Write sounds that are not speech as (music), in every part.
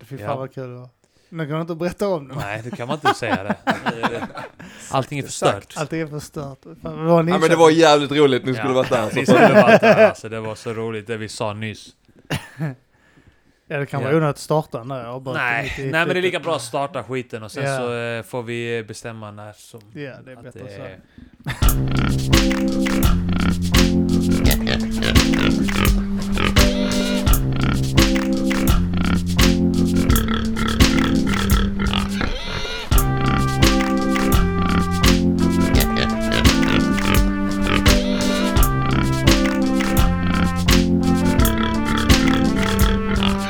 fy fan Ja. vad kul det var. Nu kan du inte berätta om det. Nej, då kan man inte säga det. (laughs) Eh, (laughs) Allting är förstört. Allt är förstört. Fan, vi var i Ja, men det Linköping. var jävligt roligt, ni (laughs) skulle Ja, varit där. Ni Så. skulle varit där alltså, det var så roligt det vi sa nyss. Ja, det kan vara Ja. onödigt att starta när jag bara Nej, nej men det är lika bra att starta skiten och sen Ja. så eh, får vi eh, bestämma när som... Ja, det är att bättre det är-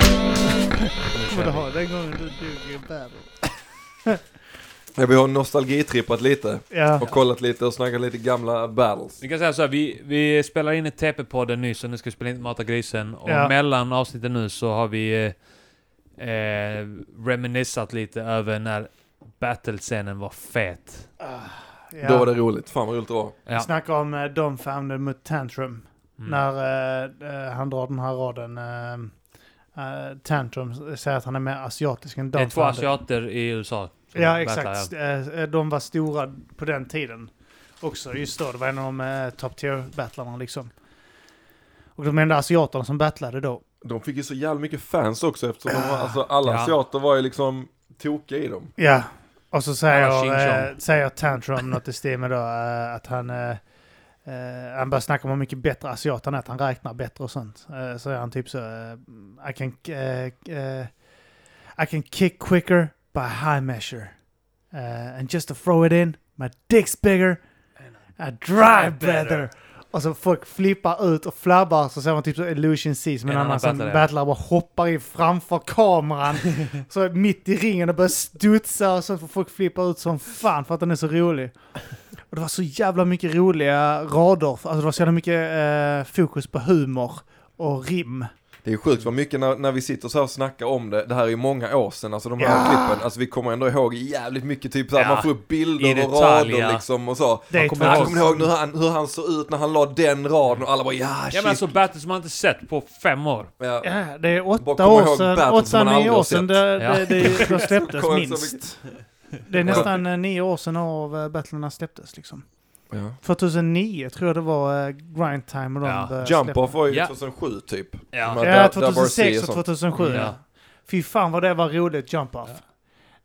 så. Men det har den gången du dog i battle. Ja, vi har nostalgitrippat lite Ja, och kollat lite och snackat lite gamla battles. Vi kan säga så här, vi, vi spelar in ett TP-podden nyss och nu ska vi spela in Mata Grisen. Och Ja. mellan avsnitten nu så har vi eh, eh, reminissat lite över när battle-scenen var fet. Ah, ja. Då var det roligt, fan vad roligt det var. Ja. Snacka om eh, Dom Founded mot Tantrum. Mm. När eh, eh, han drar den här raden. Eh, eh, tantrum säger att han är mer asiatisk än Det Dom är två Founded. asiater i USA. som Ja, battlar, exakt. ja. Eh, De var stora på den tiden också. Just då, det var en av de eh, top tier-battlarna liksom. Och de enda asiaterna som battlade då. De fick ju så jävla mycket fans också eftersom de var, alltså, alla Ja. asiater var ju liksom tokiga i dem. Ja, och så Ja, Ching säger, Chong. eh, säger Tantrum något i stil med då eh, att han... Eh, eh, han börjar snacka om hur mycket bättre asiat han är, att han räknar bättre och sånt. Eh, så är han typ så... Eh, I can... eh, eh, I can kick quicker by high measure. Eh, and just to throw it in, my dick's bigger. I drive better. Och så Alltså, folk flippar ut och flabbar så ser man typ så Illusion Seas med en En annan annan som battlare. battlar och bara hoppar in framför kameran. så mitt i ringen och börjar studsa och så får folk flippa ut som fan för att den är så rolig. Och det var så jävla mycket roliga rader. Alltså det var så jävla mycket eh, fokus på humor och rim. Det är sjukt vad mycket när, när vi sitter så här och snackar om det, det här är ju många år sedan, alltså de här Ja. klippen, alltså vi kommer ändå ihåg jävligt mycket typ såhär, Ja. man får upp bilder I och detalj, rader ja. liksom och så. Det är kommer Jag två- kommer ihåg hur han, hur han såg ut när han la den raden och alla bara ja, shit. Ja men alltså battles man inte sett på fem år. Ja. Ja, det är Bara åtta komma år ihåg sedan, battles som åtta, man nio aldrig år har sedan sett. det, Ja. det, det, de släpptes Kommer så minst. mycket- Det är Ja. nästan eh, nio år sedan av eh, battlarna släpptes liksom. Ja. 2009 tror jag det var eh, Grind Time och de Ja. började Jump släppa. off var ju Ja. 2007 typ. Ja. Men- Eh, Ja, Dub- Dub- RC 2006 och och sånt. 2007. Mm, Ja. ja. Fy fan vad det var roligt, Jump off.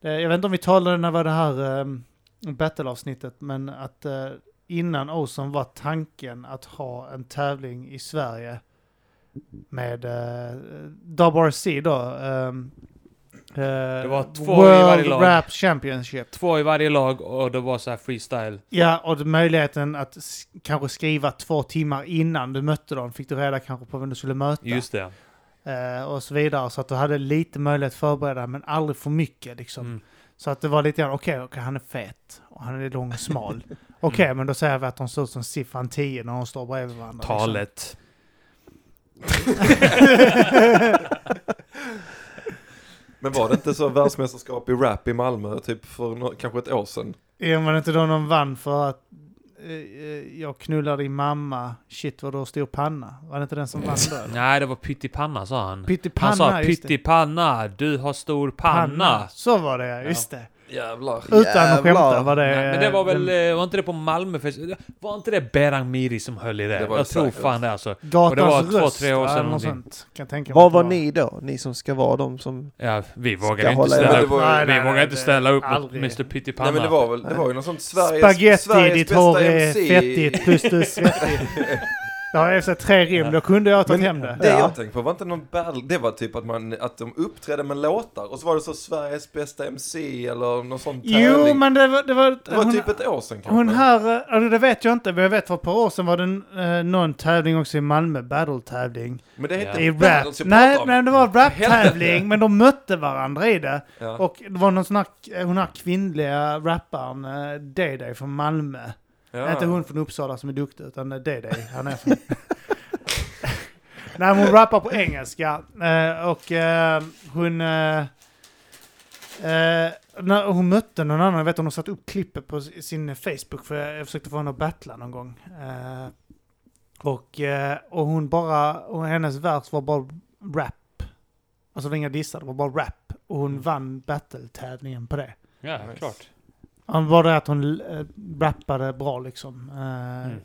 Det, jag vet inte om vi talade när det var det här um, battle-avsnittet, men att eh, innan Ozon var tanken att ha en tävling i Sverige med uh, WRC då. ehm, eh, var två i varje World lag. Rap Championship. Två i varje lag och det var så här freestyle. Ja, och det- möjligheten att s- kanske skriva två timmar innan du mötte dem fick du reda kanske på vem du skulle möta. Just det. Eh, och så vidare. Så att du hade lite möjlighet att förbereda, men aldrig för mycket liksom. Mm. Så att det var lite grann, okej, okej, han är fet och han är lång och (laughs) smal. okej, men då säger vi att de ser ut som siffran 10 när de står bredvid varandra. liksom. Talet. Men var det inte så världsmästerskap i rap i Malmö typ för nå- kanske ett år sedan? Ja, men inte då någon vann för att eh, eh, jag knullar din mamma, shit vad du har stor panna. Var det inte den som vann då? (laughs) eller? Nej, det var pyttipanna sa han. Pyttipanna, Han sa just det. pyttipanna, du har stor panna. Så var det ja, just det. Jävlar. Utan att skämta var det... Nej, men det var väl, den- eh, var inte det på Malmöfest? Var inte det Behrang Miri som höll i det? Det var jag det tror säkert. fan det alltså. och det var Gatans två, röst, tre år va, sedan eller något någonting. sånt. Kan jag tänka mig Vad att det var ni då? Ni som ska vara de som... Ja, vi Ska vågar inte hålla ställa det. upp. Nej, vi nej, vågar nej, inte det- ställa upp mot aldrig. Mr Nej Pyttipanna. men det var väl, det var ju något sånt Sveriges, Spagetti, Sveriges ditt bästa hår är MC. fettigt plus du är svettig. Det har jag sett tre rim, då kunde jag ha tagit hem Det det. Ja. jag tänkte på var inte någon battle, det var typ att, man, att de uppträdde med låtar och så var det så Sveriges bästa MC eller någon sån tävling. Jo, men det var... Det var, Det var hon, typ ett år sedan kanske. hon här, eh, alltså det vet jag inte, men jag vet för ett par år sedan var det en, eh, någon tävling också i Malmö, battle-tävling. men det hette I inte rap. battles jag Nej, pratar om. nej, det var en rap-tävling, men de mötte varandra i det. Ja. Och det var någon sån här, eh, hon här kvinnliga rapparen, eh, Day-Day från Malmö. Ja. Inte hon från Uppsala som är duktig, utan det är dig. Han är från... (laughs) Nej, men hon rappar på engelska. eh, Och eh, hon... eh, eh, När hon mötte någon annan, jag vet hon har satt upp klippet på sin Facebook, för jag försökte få henne att battla någon gång. Eh, Och, eh, och hon bara... Och hennes vers var bara rap. Alltså det var inga dissar, det var bara rap. Och hon vann battle-tävlingen på det. Ja, Nice. klart. Han var det att hon äh, rappade bra liksom. eh, Mm.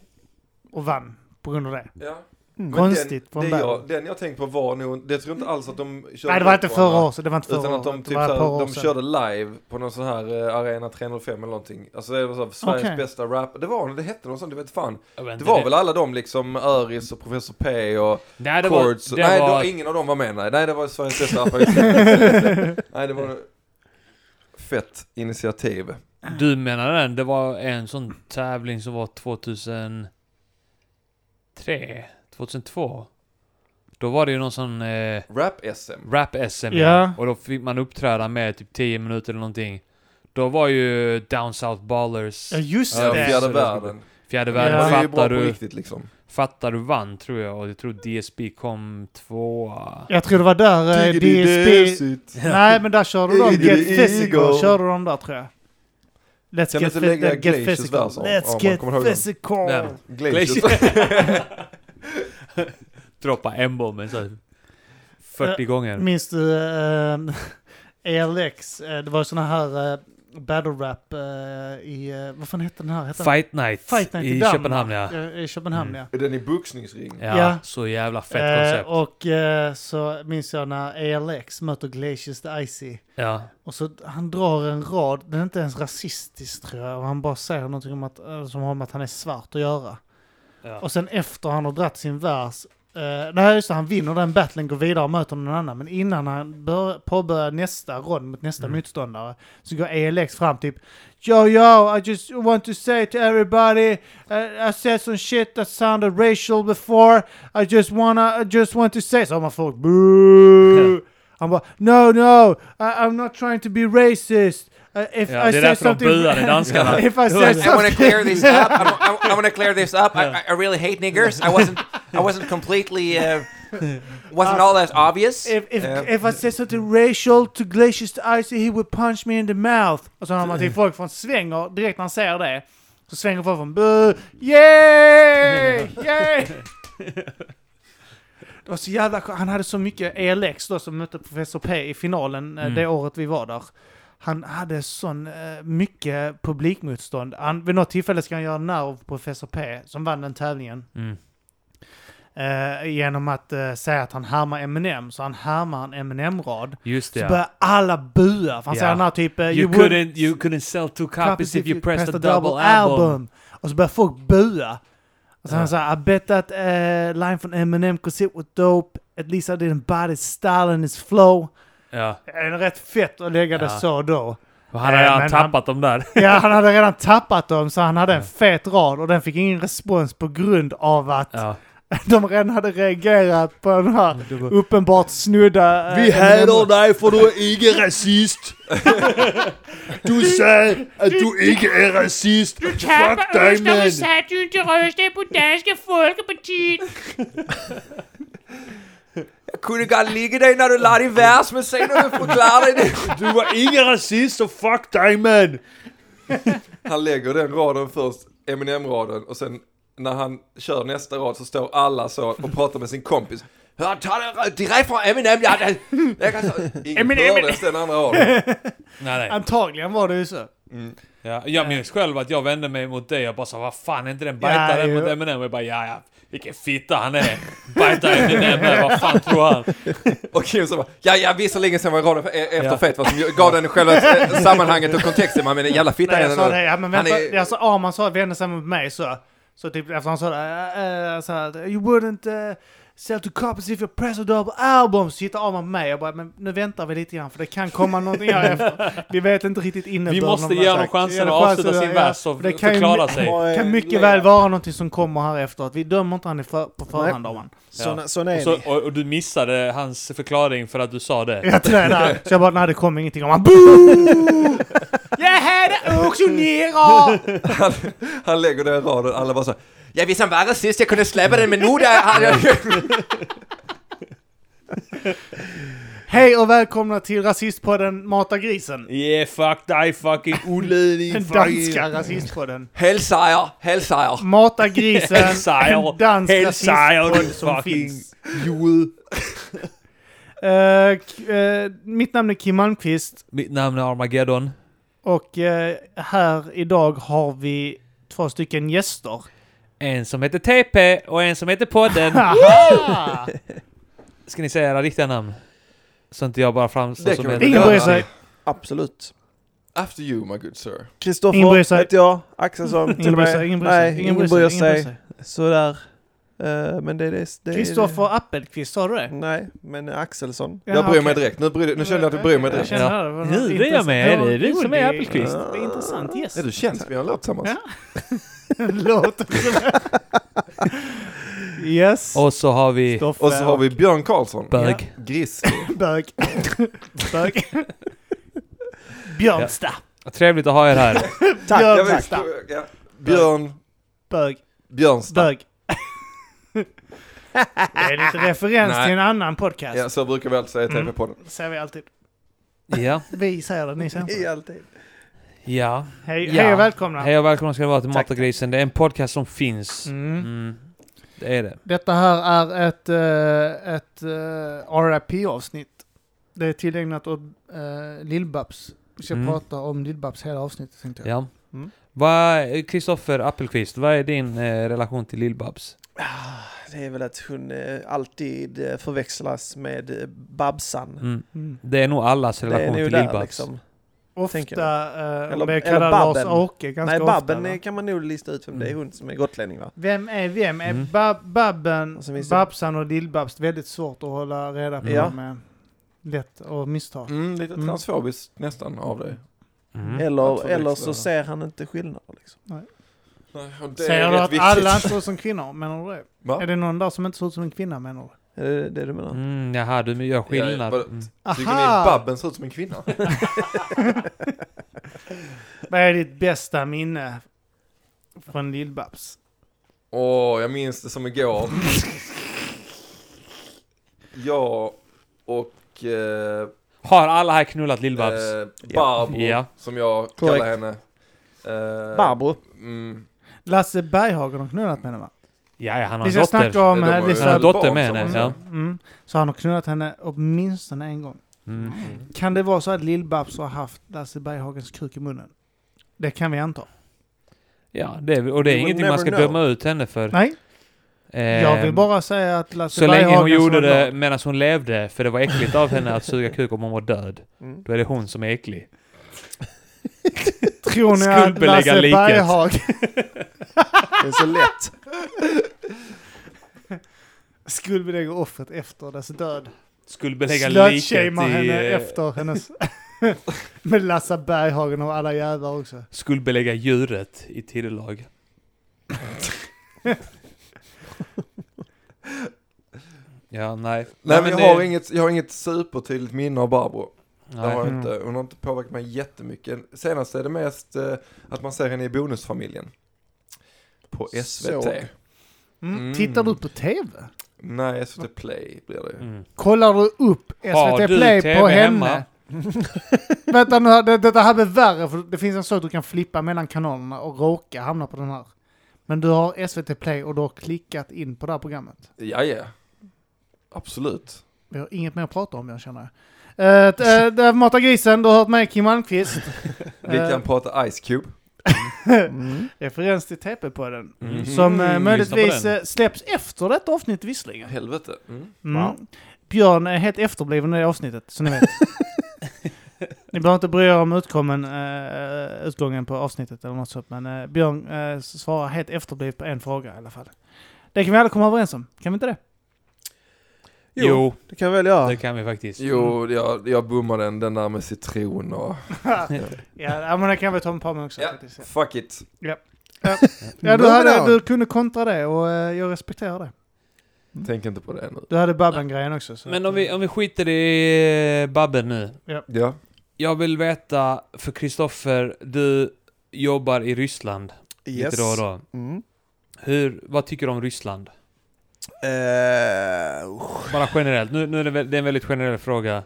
Och vann på grund av det. Ja. Mm. Men Konstigt Den, från det början. jag, den jag tänkte på var nog, det tror jag inte alls att de körde Nej, det var inte på förra varandra. året. Det var inte förra Utan att året. de, typ det var ett par såhär, år de sedan. körde live på någon sån här eh, Arena 305 eller någonting. Alltså det var så här, Sveriges Okej. bästa rap. Det var det hette något sånt, det vet fan. Jag vet Det inte, var väl alla de liksom, Öris och Professor P och Nej, det var... Kords. Det Nej, var, då, ingen av dem var med. Nej, nej det var (laughs) Sveriges bästa rap. Just det. nej, det var fett initiativ. Du menar den? Det var en sån tävling som var 2003? 2002? Då var det ju någon sån eh, Rap-SM. rap-SM. Ja. E. Och då fick man uppträda med typ 10 minuter eller någonting. Då var ju Down South Ballers, Ja, just det. Ja, fjärde Så det skulle- världen. Fjärde Ja. Man Världen, är ju bra fattar, på du, riktigt liksom. fattar du vann tror jag. Och jag tror DSB kom tvåa. Jag tror det var där eh, Diggity DSP... (laughs) Desert. Nej, men där körde de Diggity Get Physical. Eagle. Körde de där tror jag. Let's Kan get, vi inte lägga fit, get Glaciers physical. där som- om Let's man kommer ihåg get den? physical. Nej. Glacier. (laughs) Droppa M-bomben så 40 gånger. Minns du eh, (laughs) ELX? Eh, det var såna här eh, battle rap eh, i... eh, vad fan hette den här? Hette den- Fight Night, Fight Night i Danmark. Köpenhamn ja. Eh, I Köpenhamn Mm. ja. Är den i boxningsring? ja. Ja. Så jävla fett Eh, koncept. och eh, så minns jag när ALX möter Glacius the Icy. ja. Och så han drar en rad, den är inte ens rasistisk tror jag, och han bara säger någonting om att, eh, som har med att han är svart att göra. Ja. Och sen efter han har dratt sin vers, eh, nej just det, han vinner den battlen, går vidare och möter någon annan. Men innan han bör, påbörjar nästa rond mot nästa Mm. motståndare så går ALX fram typ Yo yo, I just want to say to everybody, uh, I said some shit that sounded racial before, I just wanna, I just want to say... Så har man folk boo! Han bara No no, I, I'm not trying to be racist. Uh, if Ja, I det är say därför de something... buade (laughs) danskarna. if I I say wanna I want to something... clear this up. (laughs) I, wa- I, want to clear this up. I, I- I really hate niggers. I wasn't. I wasn't completely. Uh, wasn't all that obvious. If, if, Yeah. if I said something racial to Glacius to Icy he would punch me in the mouth. Och så har man till folk från svänger direkt när han säger det. Så svänger folk från bu, yay, yay. Det var så jävla skönt. Han hade så mycket ELX då som mötte Professor P i finalen eh, Mm. det året vi var där. Han hade sån eh, mycket publikmotstånd. Han, vid något tillfälle ska han göra nerv på Professor P som vann den tävlingen. Mm. Eh, genom att eh, säga att han härmar Eminem, så han härmar en Eminem-rad. Just Så det ja. börjar alla bua, för han Ja. säger den här typ... eh, You wouldn't couldn't, you couldn't sell two copies copies if you pressed a pressed double album. Och så börjar folk bua. Och så Ja. han säger I bet that eh, line from Eminem 'cause it was dope, at least I didn't buy his style and his flow. Ja. Det är rätt fett att lägga det Ja. så då. Och han Eh, har redan men tappat dem (laughs) där. Ja, han hade redan tappat dem så han hade en Ja. fet rad och den fick ingen respons på grund av att Ja. de redan hade reagerat på den här uppenbart snudda... eh, dig för du är inte (laughs) rasist! Du sa att du inte är rasist! Du Tapper Øster og satte du til røste på Danske Folkepartiet. Jag kunde godt ligga dig när du la dig vers, men sen när du förklarade det. Du var inte rasist så fuck dig man! Han lägger den raden först, Eminem-raden, och sen när han kör nästa rad så står alla så och pratar med sin kompis. Han tar det direkt från Eminem, ja, det, jag kan, ingen Eminem, hördes den andra raden. Nej, nej. Antagligen var det ju så. Ja, jag minns själv att jag vände mig mot dig och bara sa vad fan är inte den Ja, bajtaren jo. mot Eminem? Och jag bara ja, ja. Vilken fitta han är! Bajtar (laughs) Eminem där, vad fan tror han? Och Kim så bara, ja, ja, visserligen sen var raden e- efter Ja. fet vad som gav den själva eh, sammanhanget och kontexten, men den jävla fitta Nej, jag är sa den det, nu. ja, men vänta, Han är- alltså Arman sa, vände sig mot mig så, så typ efter han sa det, eh, eh, så här, you wouldn't uh, sell two copies if you press a double album, så tittar Arman på mig och bara, men nu väntar vi lite grann för det kan komma någonting här (laughs) efter. Vi vet inte riktigt Vi innebörden. måste av ge det. honom Tack. chansen Ge att honom avsluta chansen, sin ja. vers och Det kan ju- förklara sig. kan mycket väl vara någonting som kommer här efteråt. Vi dömer inte han i för, på förhand, Nej. Arman. Såna, Ja. såna Och, är så, ni. och, och du missade hans förklaring för att du sa det. Jag tror det (laughs) där. Så jag bara, nej det kom ingenting. Och han, boo! Jag hade också neråt! Han, han lägger den raden, alla bara så här, Ja, hvis han var rasist, jag kunde släppa (laughs) den, men nu där har jag... (laughs) Hej och välkomna till rasistpodden Mata grisen. Yeah, fuck (laughs) dig fucking Olle, din Den fucking... danska rasistpodden. Hellseier, hellseier. Mata (laughs) grisen, (laughs) Hellseier. en dansk Hellseier, rasistpodd din som fucking finns. Joel. Eh, k- eh, mitt namn är Kim Malmqvist Mitt namn är Armageddon. och eh, här idag har vi två stycken gäster. En som heter TP och en som heter (laughs) podden. Aha! Ska ni säga era riktiga namn? Så inte jag bara framstår Det som kan en... vi Ingen bryr sig. Absolut. After you my good sir. Ingen bryr Kristoffer sig. heter jag, Axelsson till Ingen och bryr sig. med. Ingen bryr Nej, sig. Ingen bryr sig. Sådär. Eh, Men det är det... det är- Kristoffer Appelqvist, sa du det? Nej, men Axelsson. Ja, Jag bryr okej. mig direkt. Nu, bryr, nu känner jag att du bryr mig Jag direkt. känner det. Det var Nu, det är intressant. jag med. var- Det är du jo, som är det Appelqvist. Det är intressant yes. (laughs) Är du känd? Vi har en låt tillsammans. Ja. Låter Yes. Och så har vi... Stoffe Och så har vi Björn Karlsson. Bög. Gris. Bög. (laughs) Bög. Björnsta. Trevligt att ha (laughs) er här. Tack! Gör- Jag vet, Tack. ja. Björn Bög. Björnstad. (laughs) Bög. Det är lite referens Nej. till en annan podcast. Ja, så brukar vi alltid säga i Mm. TV-podden. Det säger vi alltid. Ja. Vi säger det, ni säger inte. I alltid. Ja. Hej, Ja. hej och välkomna. Hej och välkomna ska ni vara till Tack, Mat och grisen. Det är en podcast som finns. Mm. Mm. Det är det. Detta här är ett, eh, ett uh, RIP-avsnitt. Det är tillägnat åt uh, Lill-Babs. Vi ska Mm. prata om Lill-Babs hela avsnittet tänkte jag. Ja. Mm. Vad, eh, Kristoffer Appelqvist, vad är din eh, relation till Lill-Babs? Det är väl att hon eh, alltid eh, förväxlas med eh, Babsan. Mm. Mm. Det är nog allas Det är relation nog till där Lill-Babs. liksom. Ofta, Tänker uh, Eller- om det är eller kallad Babben. Lars-Åke ganska Nej, ofta. Babben va? eh, kan man nog lista ut vem det är. Hon som är gotlänning va? Vem är vem? Är Mm. bab Babben, Och så finns det- Babsan och Lill-Babs väldigt svårt att hålla reda på? Ja. Med. Lätt att missta. Mm, lite Mm. transfobiskt nästan av dig. Mm. Jag Eller, tror det är eller så. så ser han inte skillnad. Liksom. Nej, och det Säger är du rätt att viktigt. alla inte ser ut som kvinnor? Menar du det? Va? Är det någon där som inte ser ut som en kvinna menar du? Är det det du menar? Mm, jaha, du gör Ja, skillnad. bara- Mm. Tycker Aha! ni Babben ser ut som en (laughs) kvinna? Vad är ditt bästa minne från Lill-Babs? Åh, jag minns det som igår. jag och eh, Har alla här knullat Lill-Babs? eh, Barbro, Ja. som jag Korrekt. kallar henne. Eh, Barbro. Mm, Lasse Berghagen har knullat med henne va? ja, ja, han Vi har en ska dotter. snacka om De har eh, ju Han har en Lisa... Dotter dotter med också, henne. måste Ja. jag Mm. Så han har knullat henne åtminstone en gång. Mm. Kan det vara så att Lill-Babs har haft Lasse Berghagens kuk i munnen? Det kan vi anta. ja det är, och det är You will ingenting man never ska know. döma ut henne för. Nej, Eh, jag vill bara säga att Lasse Så länge hon Berghagen som gjorde var det glad- medan hon levde, för det var äckligt av henne att suga kuk om hon var död. Mm. Då är det hon som är äcklig. Tror ni att skuldbelägga Lasse liket. Berghagen... (laughs) Det är så lätt. Skuldbelägger offret efter dess död. Skulle belägga liket i... eh, Slutshamar henne efter hennes... (laughs) Med Lasse Berghagen och alla jävlar också. Skulle belägga djuret i tidelag. ja, nej. Nej, men jag, har det- inget, jag har inget supertydligt minne av Barbro. Det Nej. har jag Mm. inte, hon har inte påverkat mig jättemycket. Senast är det mest eh, att man ser henne i Bonusfamiljen. På SVT. Så. Mm. Mm. Tittar du på TV? Nej, SVT Play blir det. Mm. Kollar du upp Har SVT du Play TV på hemma? henne? (laughs) Vänta nu, här, det, detta här blir värre för det finns en sak du kan flippa mellan kanalerna och råka hamna på den här. Men du har SVT Play och du har klickat in på det här programmet. Ja, ja. Absolut. Vi har inget mer att prata om jag känner. Uh, det här Mata grisen, du har hört mig Kim (laughs) Malmqvist. Vi Eh, kan prata Ice Cube. Mm. referens till TP-podden. Mm. Som eh, möjligtvis på den. eh, släpps efter detta avsnitt visserligen. Helvete. Mm. Mm. Wow. Björn är helt efterbliven i det avsnittet, så ni vet. (laughs) ni behöver inte bry er om utkommen, eh, utgången på avsnittet eller något sånt, men eh, Björn eh, svarar helt efterblivet på en fråga i alla fall. Det kan vi alla komma överens om, kan vi (laughs) inte det? Jo, Jo, det kan jag väl göra. det kan vi faktiskt. Jo, jag, jag bommar den, den där med citron och... Ja, ja, men det kan vi ta med Palme också. Ja, faktiskt. fuck it. Ja, du, Moving on. hade, du kunde kontra det och eh, jag respekterar det. Tänk inte på det nu. Du hade Babben-grejen också. Så Men att, om vi, eh, om vi skiter i eh, Babben nu. Ja. Jag vill veta, för Kristoffer, du jobbar i Ryssland Yes. lite då och då. Mm. Hur, vad tycker du om Ryssland? Eh, usch. Bara generellt. Nu, nu är det, väl- det är en väldigt generell fråga.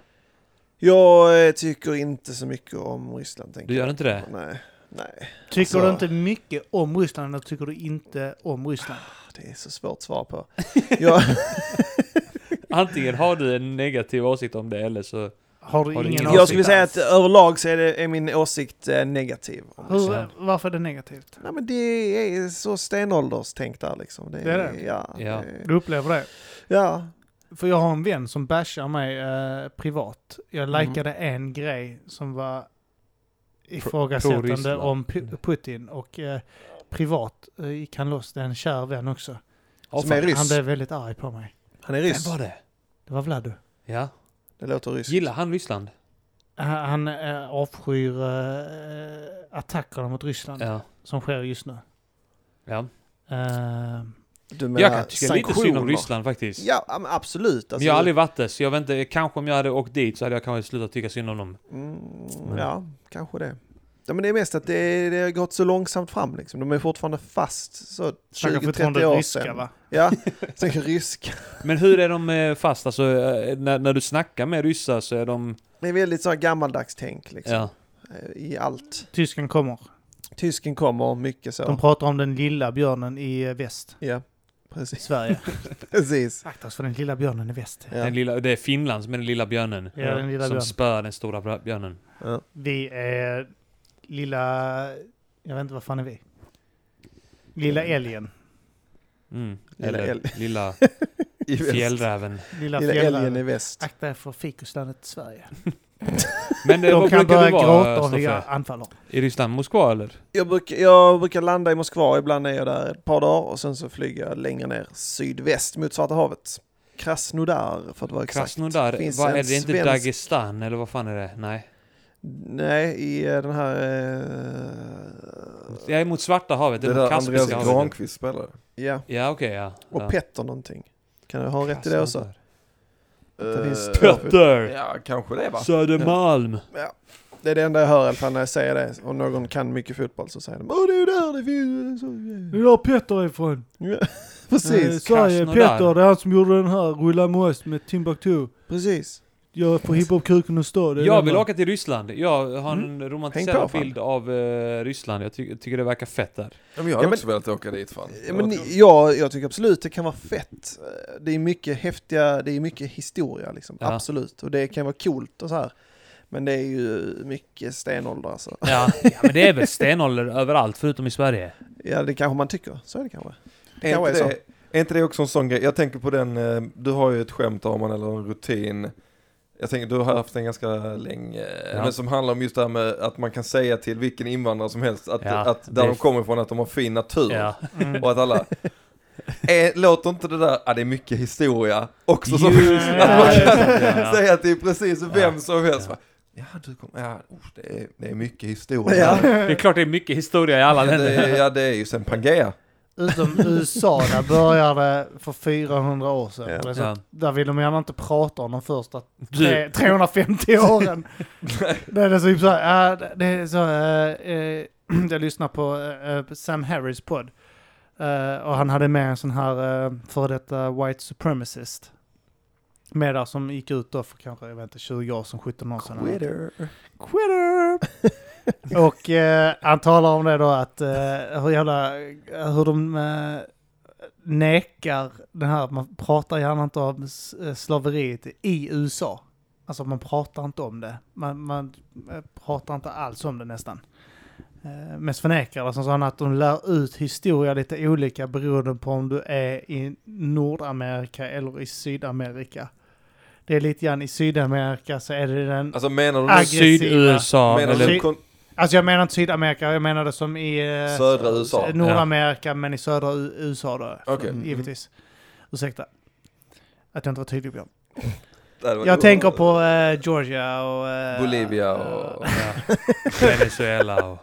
jag eh, tycker inte så mycket om Ryssland. Tänker Du gör inte det? jag. Nej, nej. tycker så- du inte mycket om Ryssland eller tycker du inte om Ryssland? (laughs) Det är så svårt att svara på. Jag, Antingen har du en negativ åsikt om det eller så... Har du Har du ingen ingen åsikt Jag skulle säga alls? att överlag så är, det, är min åsikt eh, negativ. Hur, varför är det negativt? Nej, men det är så stenålderstänk där liksom. Det är, Det är det? Ja. Ja. det- Du upplever det? ja. För jag har en vän som bashar mig eh, privat. Jag Mm. likade en grej som var ifrågasättande pro-Ryssland. om Pu- Putin och eh, privat eh, gick han loss. Det är en kär vän också. Som är ryss. Han blev väldigt arg på mig. Han är ryss. var det? Det var Vladu. Ja. Det låter ryskt. Gillar han Ryssland? Han han, eh, avskyr eh, attackerna mot Ryssland Ja. som sker just nu. ja. Eh, Du Jag kan tycka lite synd om Ryssland faktiskt. Ja, ja, men absolut. Alltså, men jag har aldrig varit där, så jag vet inte, kanske om jag hade åkt dit så hade jag kanske slutat tycka synd om dem. Mm, ja, kanske det. Ja, men det är mest att det, det har gått så långsamt fram liksom. De är fortfarande fast så Snackar 20-30 fortfarande år ryska sedan. va? (laughs) Ja, sen ryska. Men hur är de eh, fast? Alltså, eh, när, när du snackar med ryssar så är de... Det är väldigt så här gammaldags tänk liksom, Ja. eh, i allt. Tysken kommer. Tysken kommer mycket så. De pratar om den lilla björnen i eh, väst. Ja, I precis. (laughs) Sverige. (laughs) precis. Akta oss för den lilla björnen i väst. Ja. Den lilla, det är Finland som är den lilla björnen. Ja, den lilla som björnen. spöar den stora bra- björnen. Ja. Vi är lilla... Jag vet inte, vad fan är vi? Lilla älgen. Mm. Lilla Eller älg. lilla (laughs) I väst. fjällräven. Lilla, Lilla älgen i fjällräven. väst. Akta er för fikuslandet Sverige. Men eh, De vad kan brukar börja du vara, gråta om vi Stoffe? anfaller. I Ryssland? Moskva eller? Jag, brukar, jag brukar landa i Moskva, ibland är jag där ett par dagar och sen så flyger jag längre ner sydväst mot Svarta havet. Krasnodar för att vara exakt. Krasnodar? Finns Vad en är det? inte svensk- Dagestan eller vad fan är det? Nej. Nej, i eh, den här... eh, Jag är mot Svarta havet. Det Det är där mot Andreas Kaspiska havet. Granqvist spelade. ja, Ja okej ja. och ja. Petter någonting. Kan du ha rätt i det också? Det finns Eh, två. Petter! Ja, kanske det va? Södermalm! Det är det enda jag hör i alla fall när jag säger det. Om någon kan mycket fotboll så säger de Åh, det är ju där det finns... Det är där Petter är ifrån. Ja, Eh, (laughs) precis, Sverige, Krasnodar. Petter, det är han som gjorde den här Rulla med oss med Timbuktu. precis. Jag får hiphop kuken och stå. det är Jag den vill där. åka till Ryssland. Jag har en Häng på, romantiserad fan. bild av eh, Ryssland. Jag ty- tycker det verkar fett där. Ja, men jag Ja, hade men- också velat åka dit fan. Ja, Men jag, jag tycker absolut det kan vara fett. Eh, Det är mycket häftiga, det är mycket historia liksom. Ja. Absolut. Och det kan vara coolt och så här. Men det är ju mycket stenålder alltså. Ja, ja men det är väl stenålder överallt förutom i Sverige. Ja, det kanske man tycker. Så är det kanske. Är kanske inte, är det, är inte det också en sån grej? Jag tänker på den, eh, du har ju ett skämt om man eller en rutin. Jag tänker, du har haft den ganska länge. Ja. Men som handlar om just det här med att man kan säga till vilken invandrare som helst att, Ja, att där det- de kommer ifrån att de har fin natur. Ja. Och att alla... Eh, låter inte det där, ah, det är mycket historia också som... Just (laughs) att det, man just kan det, ja. (laughs) säga att det är precis vem Ja, som helst. ja. Ja, ja du kommer, ja, usch, det, är, det är mycket historia. Ja. Det är klart det är mycket historia i alla Ja, det, länder. ja, det är ju sen Pangea. Utom USA, där började för 400 år sedan. Ja. Det är så Ja. Där vill de gärna inte prata om de första tre, Du, 350 åren. det är typ så här, äh, det är så, äh, äh, (clears throat) jag lyssnar på äh, på Sam Harris podd. Äh, och han hade med en sån här äh, före detta white supremacist. Med där som gick ut då för kanske, jag vet inte, 20 år sedan, 17 år sedan. Quitter. Quitter! (laughs) och eh, han talar om det då att eh, hur jävla, hur de eh, nekar den här, man pratar gärna inte om s- eh, slaveriet i USA. Alltså man pratar inte om det. Man, man eh, pratar inte alls om det nästan. Eh, mest förnekar det. Sen sa han att de lär ut historia lite olika beroende på om du är i Nordamerika eller i Sydamerika. Det är lite grann i Sydamerika så är det den Alltså menar du, Aggressiva. Syd-USA menar eller... du Sy- kon- Alltså jag menar inte Sydamerika, jag menade som i eh, södra USA? Nordamerika men i södra U- USA då. Okej. Mm. Givetvis. Ursäkta. Att jag inte var tydlig Björn. Där var- Jag tänker på eh, Georgia och... eh, Bolivia och... Ja. Venezuela och...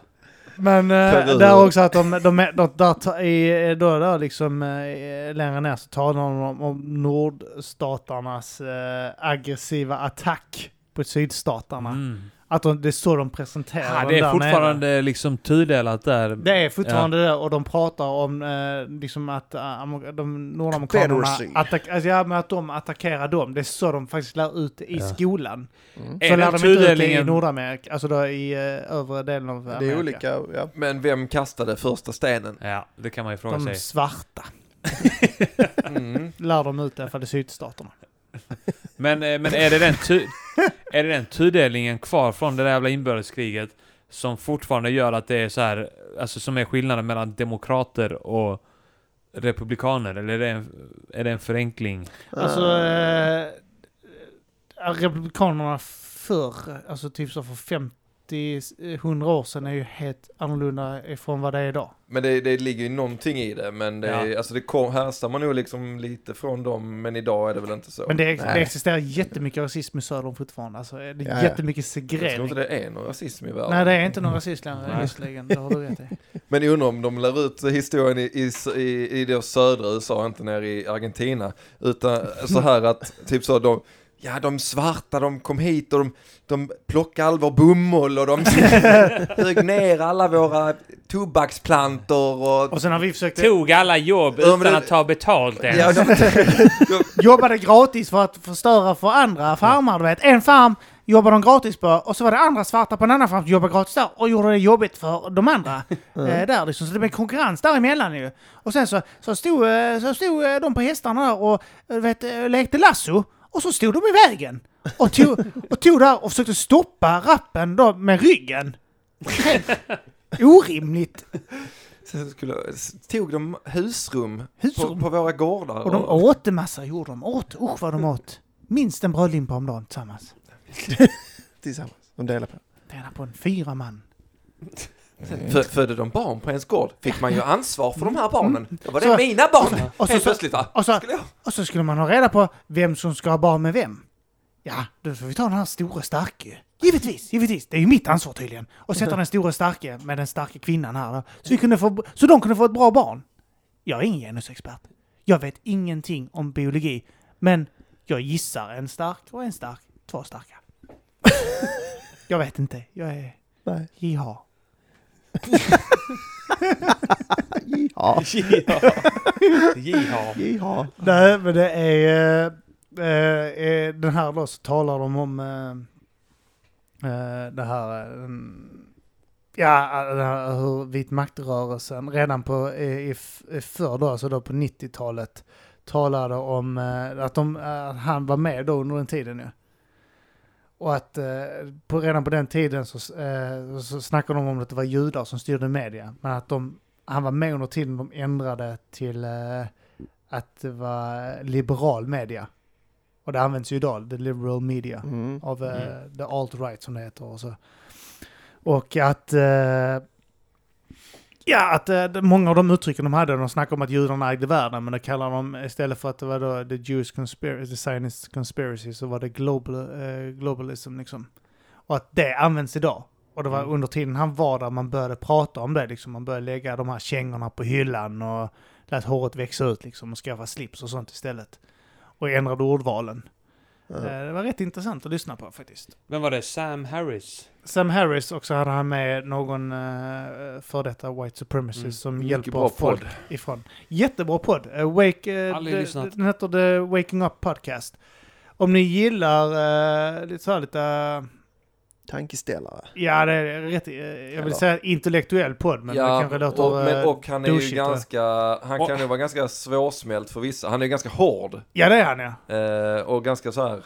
Men eh, Peru. där också att de, de, de där, ta- i, då, där liksom eh, längre ner så talar de om, om nordstaternas eh, aggressiva attack på sydstaterna. Mm. Att de, det är så de presenterar Ja, dem det där är nere. fortfarande liksom tudelat där. Det är fortfarande det och de pratar om eh, liksom att eh, amer- de nordamerikanerna Confederacy. attack, alltså, ja, men att de attackerar dem. Det är så de faktiskt lär ut det i Ja. skolan. Så lär Är den de inte ut det i tudelningen... Nordamerika, alltså då i eh, övre delen av Amerika. Det är olika, ja. Men vem kastade första stenen? Ja, det kan man ju fråga (laughs) De sig. svarta Mm. lär de ut det för det är sydstaterna. Men, eh, men är, det den tu- (laughs) är det den tudelningen kvar från det där jävla inbördeskriget som fortfarande gör att det är så här, alltså som är skillnaden mellan demokrater och republikaner? Eller är det en, är det en förenkling? Ah. Alltså, eh, eh, republikanerna förr, alltså typ så för 50-100 år sedan är ju helt annorlunda ifrån vad det är idag. Men det, det ligger ju någonting i det, men det, är, Ja. alltså det kom, härstammar nog liksom lite från dem, men idag är det väl inte så. Men det, ex- Nej. det existerar jättemycket rasism i södern fortfarande. Alltså, det är Ja, ja. jättemycket jag tror inte segregering. det är någon rasism i världen. Nej, det är inte någon rasism längre, Nej. visserligen. Det har du (laughs) rätt i. Men jag undrar om de lär ut historien i, i, i, i då södra USA, inte nere i Argentina. Utan så här att, typ så de, ja de svarta de kom hit och de, de plockade all vår bomull och de (laughs) högg ner alla våra tobaksplantor och... Och sen har vi försökt... Tog alla jobb Ja, men utan det- att ta betalt ens. Ja, de, jobbade gratis för att förstöra för andra farmar. Du vet. En farm jobbade de gratis på och så var det andra svarta på en annan farm som jobbade gratis där och gjorde det jobbigt för de andra. Eh, där liksom. Så det blev konkurrens däremellan ju. Och sen så, så, stod, eh, så stod eh, de på hästarna där och eh, du vet, eh, lekte lasso och så stod de i vägen. Och tog, och tog där och försökte stoppa rappen då med ryggen. Helt Orimligt. sen skulle, tog de husrum, Husrum. På, på våra gårdar. Och de åt en massa, gjorde de. Åt, usch vad de åt. Minst en brödlimpa om dagen tillsammans. Tillsammans. De delar på det. Tränar på en fyra man. Fö- Födde de barn på ens gård fick man ju ansvar för de här barnen. Då var det Mm. Så- mina barn! och så- Helt plötsligt va? Och så, Skulle jag- och så skulle man ha reda på vem som ska ha barn med vem. Ja, då får vi ta den här stora starke. Givetvis, givetvis. Det är ju mitt ansvar tydligen. Och Mm. sätta den stora starke med den starka kvinnan här. då. Så, vi kunde få, så de kunde få ett bra barn. Jag är ingen genusexpert. Jag vet ingenting om biologi. Men jag gissar en stark och en stark. Två starka. (laughs) jag vet inte. Jag är Nej. jiha. (laughs) Jiha. Jiha. Jiha. Nej, men det är... eh, eh, eh, den här då så talar de om eh, eh, det här... eh, den- ja, eh, den här, hur vit maktrörelsen redan på, eh, i, f- i förr då, alltså då på 90-talet talade om eh, att de, eh, han var med då under den tiden nu. Och att eh, på, redan på den tiden så, eh, så snackade de om att det var judar som styrde media. Men att de, han var med under tiden de ändrade till eh, att det var liberal media. Och det används ju idag, the liberal media, Mm. av eh, Mm. the alt-right som det heter. Och, så. och att... eh, ja, att eh, de- många av de uttrycken de hade, de snackade om att judarna ägde världen, men det kallar de, istället för att det var då the Jewish conspiracy, the Zionist conspiracy, så var det global, eh, globalism liksom. Och att det används idag. Och det var under tiden han var där man började prata om det, liksom. Man började lägga de här kängorna på hyllan och lät håret växa ut liksom och skaffa slips och sånt istället. Och ändrade ordvalen. Eh, Det var rätt intressant att lyssna på faktiskt. Vem var det? Sam Harris? Sam Harris också hade han med någon eh, för detta white supremacist Mm. som Mycket hjälper bra folk podd. ifrån. Jättebra podd. Eh, Wake, eh, Aldrig the- lyssnat. Den heter The Waking Up Podcast. Om ni gillar eh, lite så här lite, eh, Tankeställare. ja det är rätt, eh, jag vill Eller? säga intellektuell podd men det kanske låter... och, men, eh, och han är ju douchigt, va? ganska, han kan ju vara ganska svårsmält för vissa. Han är ju ganska hård ja det är han ja. eh, och ganska så här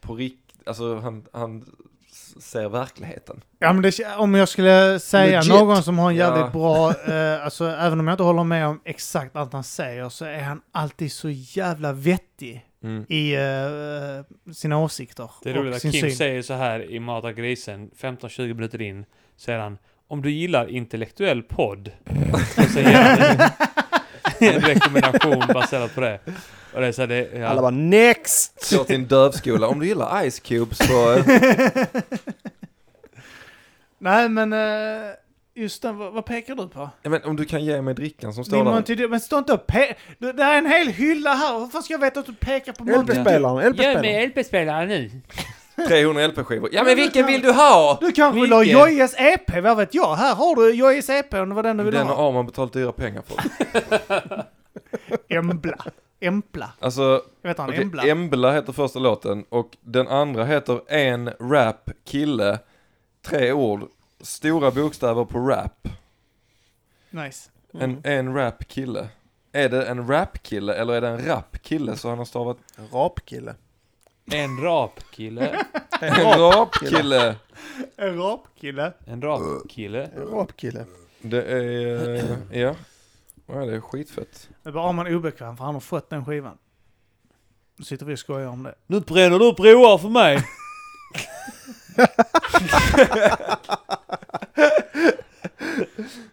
på rikt, alltså han, han s- ser verkligheten. Ja, men det, om jag skulle säga Legit. någon som har en Ja. jävligt bra, eh, alltså även om jag inte håller med om exakt allt han säger så är han alltid så jävla vettig i eh, sina åsikter Det är roligt och att sin Kim syn. säger så här i Mata grisen, 15-20 minuter in, säger han om du gillar intellektuell podd, så säger han en, (laughs) en rekommendation baserat på det. Och det är så här, det, Alla ja, bara next! Går till en dövskola, om du gillar Ice eh, Cube så... (laughs) Nej, men eh, just den, vad, vad pekar du på? Ja, men om du kan ge mig drickan som Min står där. Monty, Dew- men stå inte och pe- det, det här är en hel hylla här, hur fan ska jag veta att du pekar på Monty? Dew? LP-spelaren. Gör LP-spelaren. mig LP-spelare nu. 300 LP-skivor. Ja men vilken vill du ha? Du kanske vill ha Jojes EP, vad vet jag? Här har du Jojes EP om det var den du ville Den ha. har man betalat dyra pengar för. Embla. Empla. Alltså, Jag vet han, Okej, Embla. Embla heter första låten och den andra heter En Rap Kille. Tre ord, stora bokstäver på rap. nice. Mm. En, en rap kille. Är det en rapkille eller är det en rapkille så han har stavat En rapkille. En rapkille. En en rap- rapkille? En rapkille. En rapkille. en rapkille. Det är, eh, ja. ja, det är skitfett. Det är bara Arman obekväm för han har fått den skivan. Nu sitter vi och skojar om det. Nu bränner du upp broar för mig.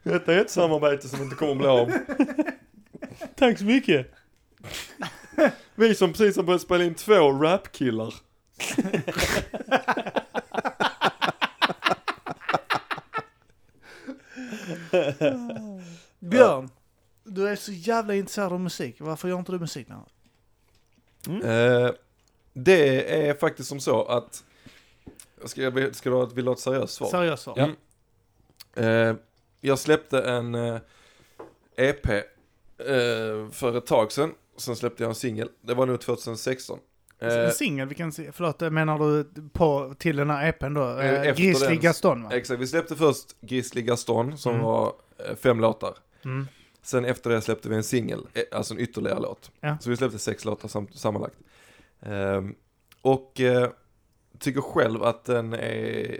Detta är ett samarbete som inte kommer att bli av. Tack så mycket. Vi som precis har börjat spela in två rapkillar. Björn, du är så jävla intresserad av musik. Varför gör inte du musik längre? Eh, det är faktiskt som så att, ska, jag, ska du ha ett, vill du ha ett seriöst svar? Seriöst svar. Ja. Eh, jag släppte en eh, EP eh, för ett tag sedan. Sen släppte jag en singel. Det var nog 2016. Eh, En singel, vi kan se. Förlåt, eh, menar du på, till den här EPn då? Eh, Eh, efter Grizzly den- Gaston va? Eh, exakt, vi släppte först Grizzly Gaston som Mm. var eh, fem låtar. Mm. Sen efter det släppte vi en singel, eh, alltså en ytterligare låt. Ja. Så vi släppte sex låtar sam- sammanlagt. Ehm, och eh, tycker själv att den är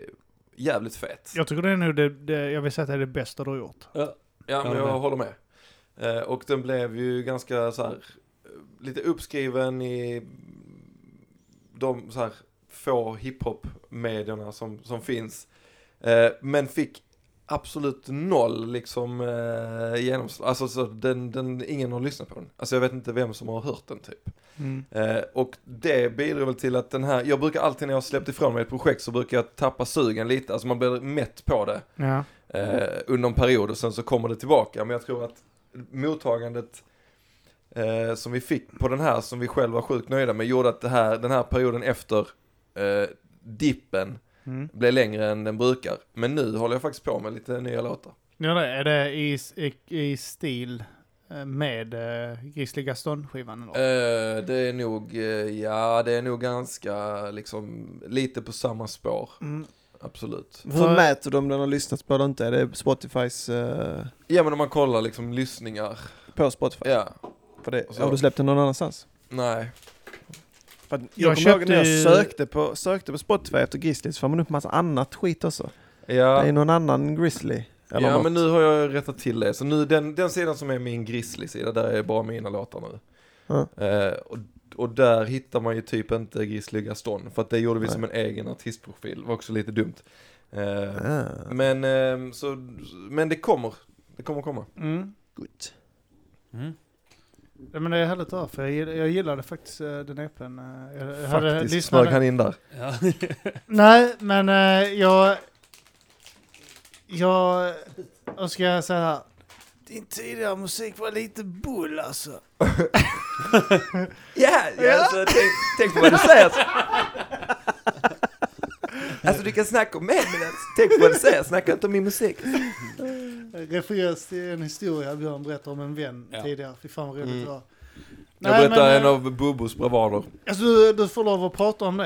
jävligt fet. Jag tycker det är nog det, det, jag vill säga att det är det bästa du har gjort. Ja, men Ja, jag men- håller med. Eh, och den blev ju ganska så här, eh, lite uppskriven i de så här få hiphop-medierna som, som finns. Eh, men fick absolut noll liksom eh, genomslag. Alltså så den, den, ingen har lyssnat på den. Alltså jag vet inte vem som har hört den typ. Mm. Eh, och det bidrar väl till att den här, jag brukar alltid när jag har släppt ifrån mig ett projekt så brukar jag tappa sugen lite. Alltså man blir mätt på det Ja. eh, under en period och sen så kommer det tillbaka. Men jag tror att mottagandet eh, som vi fick på den här, som vi själva var sjukt nöjda med, gjorde att det här, den här perioden efter eh, dippen Mm. blev längre än den brukar. Men nu håller jag faktiskt på med lite nya låtar. Ja, det är det i, i, i stil eh, med eh, Grizzly Gaston-skivan? eller? Eh, det är nog, eh, ja det är nog ganska liksom lite på samma spår, Mm. absolut. För- Hur mäter du om den har lyssnat på eller inte? Är det Spotifys... eh, Ja men om man kollar liksom lyssningar, på Spotify? ja, För det, Så. har du släppt den någon annanstans? nej. För att jag, Jag kommer ihåg när jag köpte ju- sökte på, sökte på Spotify efter Grizzly så får man upp massa annat skit också. Ja. Det är någon annan Grizzly. Eller ja något. men nu har jag rättat till det. Så nu den, den sidan som är min Grizzly-sida, där är bara mina låtar nu. Ja. Eh, och, och där hittar man ju typ inte Grizzly Gaston, för att det gjorde vi Nej. som en egen artistprofil, var också lite dumt. Eh, Ah, Men, ehm, så, men det kommer, det kommer komma. Mm. good. Mm. Ja, men det är härligt att höra, för jag, gill- jag gillade faktiskt eh, den EPn. eh, Jag, jag hade Faktiskt, smög lyssnat. han in där. Ja. Nej, men eh, jag... Jag... Vad ska jag säga? här? Din tidigare musik var lite (laughs) bull alltså. Ja, ja. Alltså, tänk, tänk på vad du säger. Alltså du kan snacka om mig, men alltså, tänk på vad du säger. Snacka inte om min musik. Referens till en historia Björn berättade om en vän Ja. tidigare. Fy fan vad roligt Mm. det var. Jag berättar eh, en av Bubos bravader. Alltså, du, du får lov att prata om det.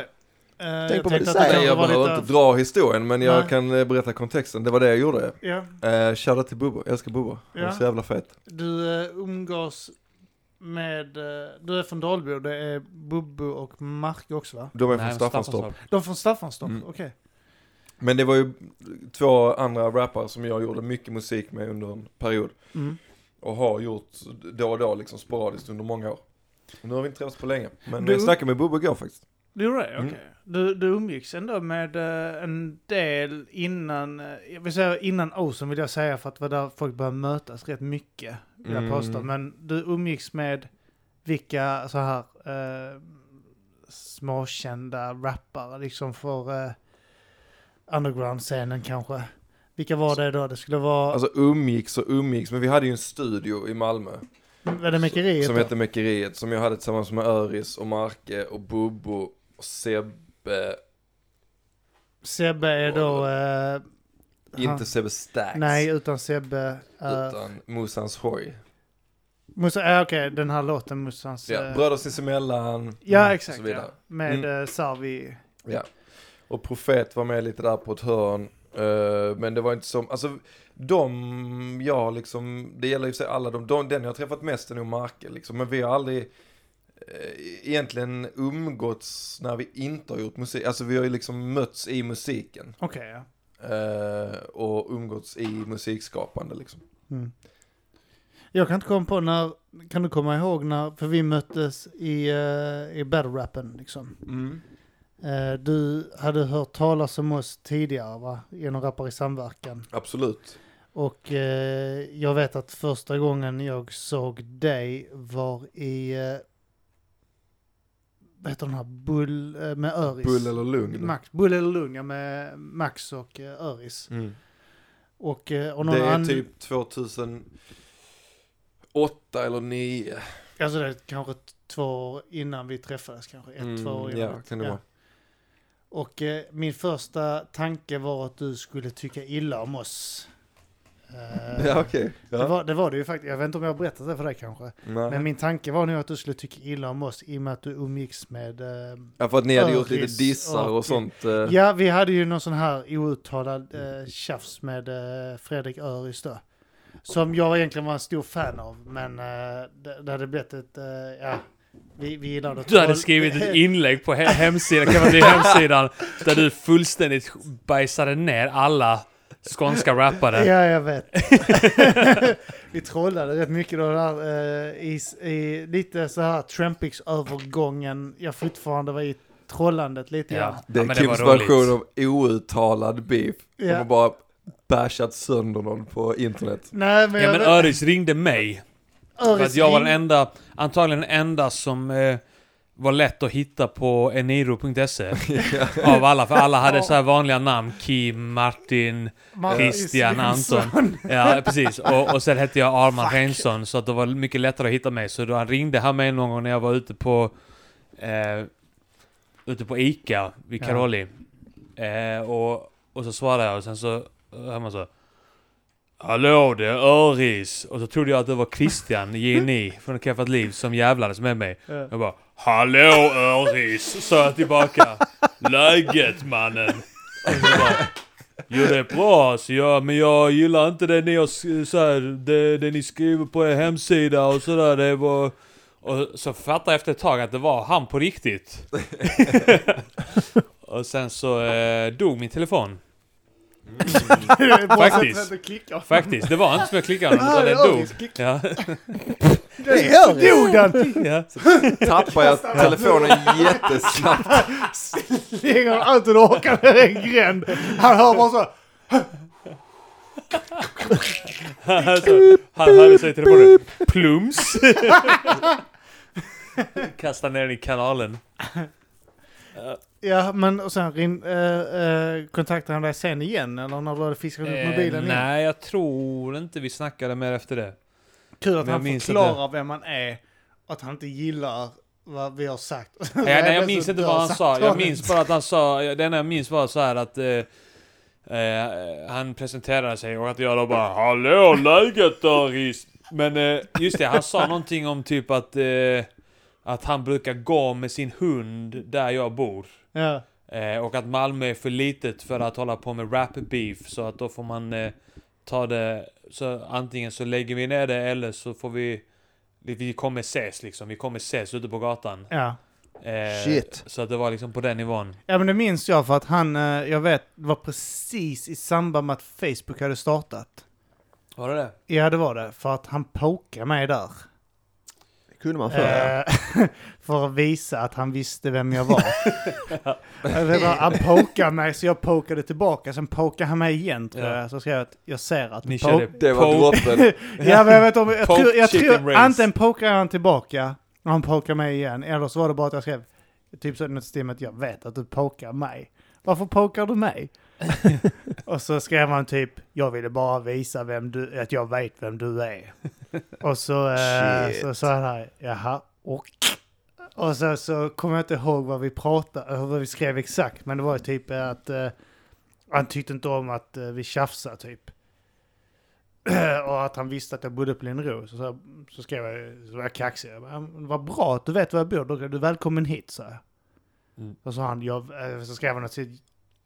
Eh, Tänk på tänkte vad du att det säger. kanske Nej, jag var behöver inte dra historien, men jag Nej. kan eh, berätta kontexten. Det var det jag gjorde. Ja, Eh, Shoutout till Bubbo, jag älskar Bubbo. Han är Ja. så jävla fet. du eh, umgås med... eh, Du är från Dalbo, det är Bubbo och Mark också va? De är Nej, från Staffanstorp. De är från Staffanstorp, Mm. okej. Men det var ju två andra rappare som jag gjorde mycket musik med under en period. Mm. Och har gjort då och då liksom sporadiskt under många år. Nu har vi inte träffats på länge. Men Du- jag snackade med Bubbe igår faktiskt. Du gjorde det? Okej. Mm. Du, du umgicks ändå med eh, en del innan, eh, jag vill säga innan Ocean vill jag säga för att det var där folk började mötas rätt mycket, vill jag Mm. påstå. Men du umgicks med vilka så här eh, småkända rappare liksom för eh, underground-scenen kanske? Vilka var det då? Det skulle vara, Alltså umgicks och umgicks. Men vi hade ju en studio i Malmö. var det Mekeriet? alltså- Som då? hette Mekeriet. Som jag hade tillsammans med Öris och Marke och Bubbo och Sebbe. Sebbe är då... Eh, Inte Sebbe Stax. han, nej, utan Sebbe eh, är... Utan Musans Hoj. Musa, äh, okej, den här låten Mussans... Ja, eh, bröder sinsemellan. Ja, Och exakt. så Ja. vidare. Med Mm. mm. Sarvi. Ja. Och Profet var med lite där på ett hörn. Eh, men det var inte som, alltså de, jag liksom, det gäller ju sig alla, de, de, den jag har träffat mest är nog Marke liksom, men vi har aldrig eh, egentligen umgåtts när vi inte har gjort musik, alltså vi har ju liksom mötts i musiken Okej, ja. eh, och umgåtts i musikskapande liksom. Mm. Jag kan inte komma på när, kan du komma ihåg när, för vi möttes i, eh, i battle-rappen liksom. Eh, du hade hört talas om oss tidigare va, genom Rappar i samverkan. Absolut. Och eh, jag vet att första gången jag såg dig var i, eh, vad heter den här, Bull eh, med Öris? Bull eller lugn. Max, Bull eller Lugn, ja, med Max och eh, Öris. Mm. Och, eh, och någon Det är annan- typ 2008 eller 9. Alltså det är kanske två år innan vi träffades kanske. Ett, två år Mm, innan. Mm, ja, kan det Ja. vara. Och eh, min första tanke var att du skulle tycka illa om oss. Eh, Ja, okej. det, Ja. var, det var det ju faktiskt. Jag vet inte om jag har berättat det för dig kanske. Men Nej. min tanke var nog att du skulle tycka illa om oss i och med att du umgicks med... Eh, Ja, för att ni hade gjort lite Öris dissar och- och sånt. eh. ja, vi hade ju någon sån här outtalad eh, tjafs med eh, Fredrik Öris då. Som jag egentligen var en stor fan av, men eh, det, det hade blivit ett... Eh, ja, vi, vi gillade att Du hade troll- (laughs) skrivit ett inlägg på he- hemsidan, kan man säga, hemsidan, där du fullständigt bajsade ner alla skånska rappare. Ja, jag vet. (laughs) vi trollade rätt mycket då där, eh, i, s- i lite så här Trampix-övergången. Jag fortfarande var i trollandet lite grann. Ja, Det är men det var Kims roligt. version av outtalad beef. De Ja. har bara bashat sönder någon på (laughs) internet. Nej, men, Ja jag men vet- Öris ringde mig. För Öris att jag var den ring- enda, antagligen den enda som eh, var lätt att hitta på (laughs) eniro.se. Av alla, för alla hade så här vanliga namn. Kim, Martin, Marcus Christian, Jonsson. Anton. Ja, precis. Och, och sen hette jag Arman Reinsson, så att det var mycket lättare att hitta mig. Så då han ringde han mig någon gång när jag var ute på... Eh, ute på Ica vid Ja. Karoli. Eh, och, och så svarade jag och sen så hör man så... Hallå, det är Öris! Och så trodde jag att det var (laughs) Christian, Jenny från Keffat Liv, som jävlades med mig. Ja. Jag bara Hallå Öris! Sa (laughs) jag tillbaka. Läget mannen! Och så bara, Jo det är bra alltså, ja, men jag gillar inte det ni, har, sk- så här, det, det ni skriver på er hemsida och sådär. Det var... Och så fattade jag efter ett tag att det var han på riktigt. (laughs) och sen så eh, dog min telefon. Det är bra sätt Faktiskt. att inte klicka. Faktiskt, det var inte som jag klickade utan Nej, den Öris dog. klick- Ja, (laughs) Det är Öris! Dog den? ja. Tappar jag telefonen jättesnabbt. Slänger den Anton och Håkan ner i en gränd. Han hör bara så. Alltså, han hörde sig i telefonen. (laughs) Plums! Kastade ner den i kanalen. Ja, men och sen ring, eh, eh, kontaktade han dig sen igen eller när du hade fiskat upp mobilen igen? Eh, nej, jag tror inte vi snackade mer efter det. Kul att Men jag han minns förklarar vem man är och att han inte gillar vad vi har sagt. (laughs) Nej, nej, jag minns inte vad han sa. Jag minns bara att han sa, det enda jag minns var så här att eh, eh, han presenterade sig och att jag då bara Hallå läget Doris? Men eh, just det, han sa någonting om typ att, eh, att han brukar gå med sin hund där jag bor. Ja. Eh, och att Malmö är för litet för att hålla på med rap beef så att då får man eh, ta det så antingen så lägger vi ner det eller så får vi vi kommer ses liksom, vi kommer ses ute på gatan. Ja. Eh, Shit. Så att det var liksom på den nivån. ja, men det minns jag för att han, eh, jag vet, var precis i samband med att Facebook hade startat. Var det det? Ja, det var det. För att han pokade mig där. Det kunde man förr. ja. Eh, (laughs) för att visa att han visste vem jag var. Eller, han pokade mig så jag pokade tillbaka. Sen pokade han mig igen tror Ja. jag. Så skrev jag att jag ser att Ni du körde Det var poke- droppen. (laughs) Ja, men jag vet om, jag Poke tror, jag chicken tror race. antingen pokade han tillbaka och han pokade mig igen, eller så var det bara att jag skrev typ så något stil med att jag vet att du pokade mig. Varför pokar du mig? och så skrev han typ, jag ville bara visa vem du, att jag vet vem du är. och så, eh, Shit. så sa han här, jaha, och? Och så, så kommer jag inte ihåg vad vi pratade, eh, vad vi skrev exakt, men det var ju typ eh, att eh, han tyckte inte om att eh, vi tjafsade typ. (clears throat) Och att han visste att jag bodde på Linnero. Så, så, så skrev jag, så var jag kaxig. Jag bara, "Ja, men Vad bra att du vet var jag bor, då är du välkommen hit, så. jag. Mm. Och så, han, jag, eh, så skrev han att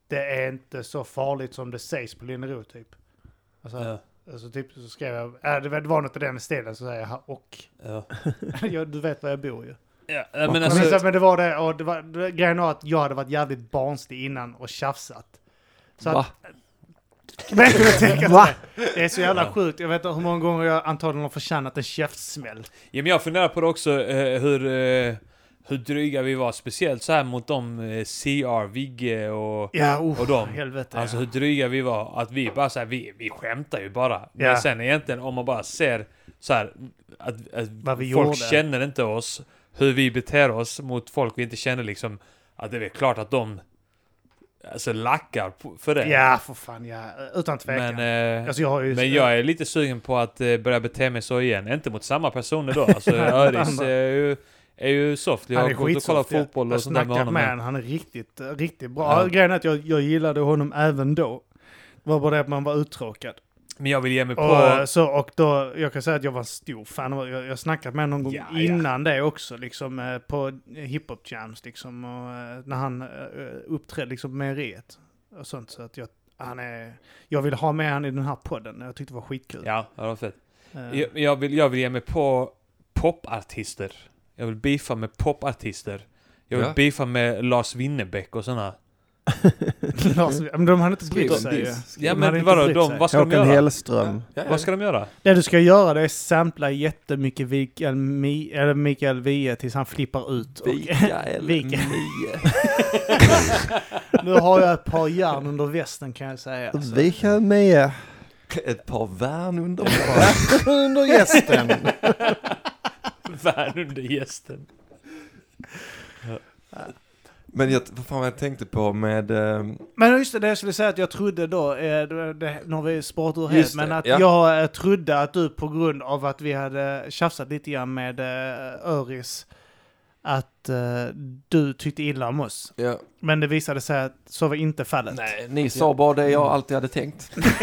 det är inte så farligt som det sägs på Linnerot typ. Alltså, Ja. alltså typ så skrev jag, äh, det var- det var något i den stilen, så säger jag "Ha, och. (laughs) Ja. Ja, du vet var jag bor ju. Ja, men Men, så, alltså, men det var det, och det var, det, grejen var att jag hade varit jävligt barnslig innan och tjafsat. Så att, men jag tänker Va? Det är så jävla sjukt, jag vet inte hur många gånger jag antagligen har förtjänat en käftsmäll. ja, men jag funderar på det också, eh, hur, eh, hur dryga vi var. Speciellt så här mot de eh, CR, Vigge och... Ja, oh, Och de, helvete. Alltså hur dryga vi var, att vi bara så här, vi, vi skämtar ju bara. Ja. Men sen egentligen om man bara ser så här, att, att Vad vi folk gjorde. känner inte oss, hur vi beter oss mot folk vi inte känner liksom, att det är väl klart att de alltså lackar på, för det. Ja, för fan ja. Utan tvekan. men, eh, alltså jag har ju... men jag är lite sugen på att eh, börja bete mig så igen, inte mot samma (laughs) personer då. Alltså Öris andra. är ju, är ju soft, jag han har är gått och kollat skitsoft. ja. fotboll Jag och sånt där med snackar honom. med men- honom, han är riktigt, eh, riktigt bra. Ja. Grejen är att jag, jag gillade honom även då. Det var bara det att man var uttråkad. Men jag vill ge mig på... Och, eh, så, och då, jag kan säga att jag var en stor fan. av- Jag, jag snackat med honom någon Ja, gång ja. innan det också, liksom eh, på hiphop jams, liksom. Och, eh, när han eh, uppträdde liksom med mejeriet och sånt. Så att jag, han är, jag vill ha med honom i den här podden. Jag tyckte det var skitkul. Ja, det var fett. Eh, Jag, jag, vill, jag vill ge mig på popartister. Jag vill beefa med popartister. Jag vill Ja. beefa med Lars Winnerbäck och sådana. (laughs) Lars- men de hade inte Skriv brytt en sig ju. diss. Skriv Ja De hade men inte vadå, brytt de, sig. vad ska de Håkan göra? Hellström. Ja, ja. Vad ska (laughs) de göra? Det du ska göra det är sampla jättemycket Mikael, Mi, eller Mikael Wiehe tills han flippar ut. Och, (laughs) Mikael Mikael. Mie. nu har jag ett par järn under västen kan jag säga. Så- Alltså, Vi kan med Ett par värn under (laughs) under (laughs) gästen. Värn under gästen. Men jag, vad fan var jag tänkte på med... ehm, Men just det, det jag skulle säga att jag trodde då, eh, det, det, nu har vi spårat ur helt, Just det, men att ja. jag eh, trodde att du på grund av att vi hade tjafsat lite grann med eh, Öris, att eh, du tyckte illa om oss. ja. Men det visade sig att så var inte fallet. Nej, ni sa bara det jag alltid hade tänkt. (laughs)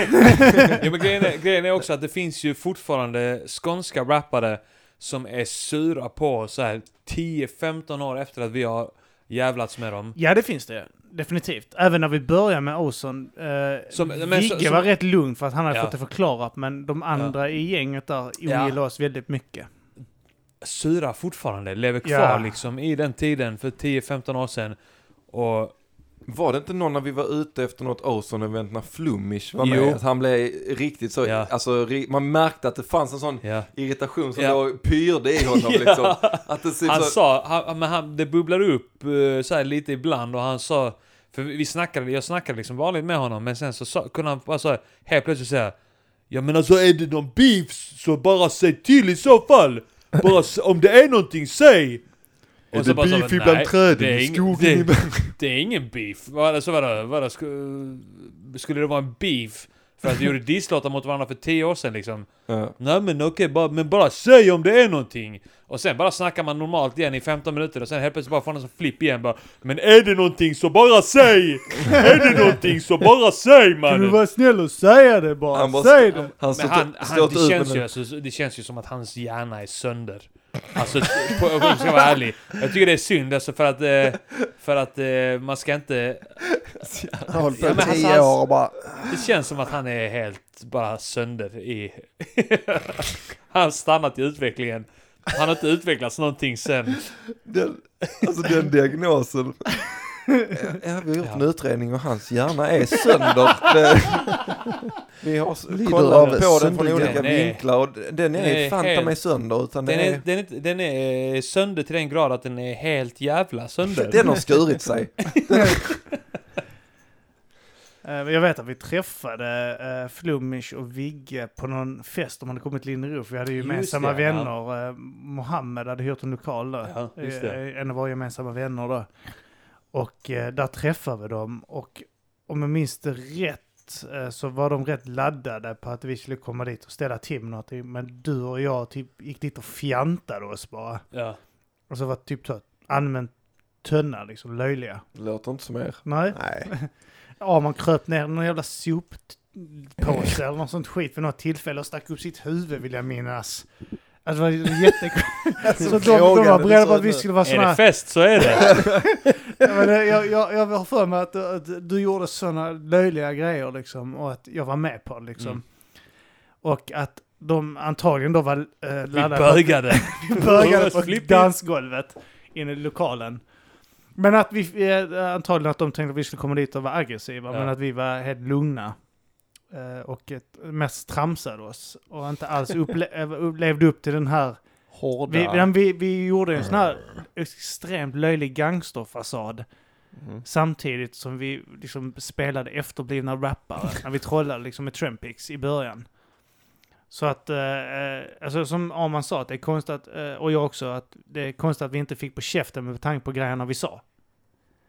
Ja, men grejen, är, grejen är också att det finns ju fortfarande skånska rappare som är sura på så här 10-15 år efter att vi har jävlats med dem. Ja, det finns det. Definitivt. Även när vi började med Ozon. Eh, Som- men Vigge så- som- var rätt lugn för att han hade Ja. fått det förklarat, men de andra i gänget där ogillade oss väldigt mycket. sura fortfarande, lever kvar Ja. liksom i den tiden för 10-15 år sedan. Och Var det inte någon när vi var ute efter något Ozon-event när Flumish var Jo. med? Att han blev riktigt så, Ja. alltså ri- man märkte att det fanns en sån ja. irritation som Ja. låg pyrde (laughs) i honom liksom. Att det ser Han så, sa, han, men han, det bubblar upp eh, så här lite ibland och han sa, för vi vi snackade, jag snackade liksom vanligt med honom men sen så sa, kunde han bara så här, helt plötsligt säga Ja men alltså är det någon beef så bara säg till i så fall! Bara s- om det är någonting, säg! Är Och det bara så här, beef ibland "Nej, träden, det är i ing- skogen det, ibland?" (laughs) det är ingen beef. Vad, alltså, vadå, vadå, sku, skulle det vara en beef? För att vi gjorde disslåtar mot varandra för 10 år sedan liksom. ja. Nej men okej, bara, men bara säg om det är någonting! Och sen bara snackar man normalt igen i 15 minuter och sen helt plötsligt bara får man en sån flipp igen bara Men är det någonting så (laughs) bara säg! är det någonting så bara säg Kan du mannen! vara snäll och säga det bara? Han bara- Säg det! han Men stod, han, han, stod det, ut med känns ju, den. alltså, det känns ju som att hans hjärna är sönder. Alltså, på, om jag ska vara ärlig. Jag tycker det är synd alltså för att, eh, för att eh, man ska inte... Jag har hållit på Ja, i men tio alltså, år och bara... Det känns som att han är helt bara sönder i... (laughs) han har stannat i utvecklingen. Han har inte utvecklats någonting sen. Den, alltså den diagnosen. Ja, vi har gjort en utredning och hans hjärna är sönder. Det, vi har s- Lider kollat av på den från söndergren. olika Den är- vinklar och d- den den är är fan ta mig helt- sönder. Utan den, Den är, är, den, är, inte- den är eh, sönder till den grad att den är helt jävla sönder. den har skurit sig. Eh, men Jag vet att vi träffade eh, Flumish och Vigge på någon fest de hade kommit till Linderud, för vi hade ju Just gemensamma det, ja. vänner. Eh, Mohammed hade hyrt en lokal där. Ja, just det. Eh, En av våra gemensamma vänner då. Och eh, där träffade vi dem och om jag minns det rätt eh, så var de rätt laddade på att vi skulle komma dit och ställa till med någonting. Men du och jag typ gick dit och fjantade oss bara. Ja. Och så var typ så använt tunna liksom, löjliga. (laughs) Låter inte som er. Nej. Nej. Ja, man kröp ner i någon jävla soppåse eller något sånt skit vid något tillfälle och stack upp sitt huvud vill jag minnas. Alltså, (laughs) Alltså, det var jätte... så de, de var frågade beredda så på att nu. vi skulle vara Är det (laughs) såna... fest så är det. Ja, men, eh, jag, jag, jag har för mig att, att du gjorde sådana löjliga grejer liksom, och att jag var med på det. Liksom. Mm. Och att de antagligen då var eh, Vi laddade på- bögade. vi bögade på Flippigt. dansgolvet inne i lokalen. Men att vi, eh, antagligen att de tänkte att vi skulle komma dit och vara aggressiva, Ja. men att vi var helt lugna. Eh, Och eh, mest tramsade oss och inte alls upple- (laughs) eh, levde upp till den här Hårda. vi, men vi, vi gjorde en sån här extremt löjlig gangsterfasad Mm. Mhm. samtidigt som vi liksom spelade efterblivna rappare när vi trollade liksom med trumpix i början. Så att, eh, eh, alltså som Arman sa, att det är konstigt att, eh, och jag också, att det är konstigt att vi inte fick på käften med tanke på grejerna vi sa.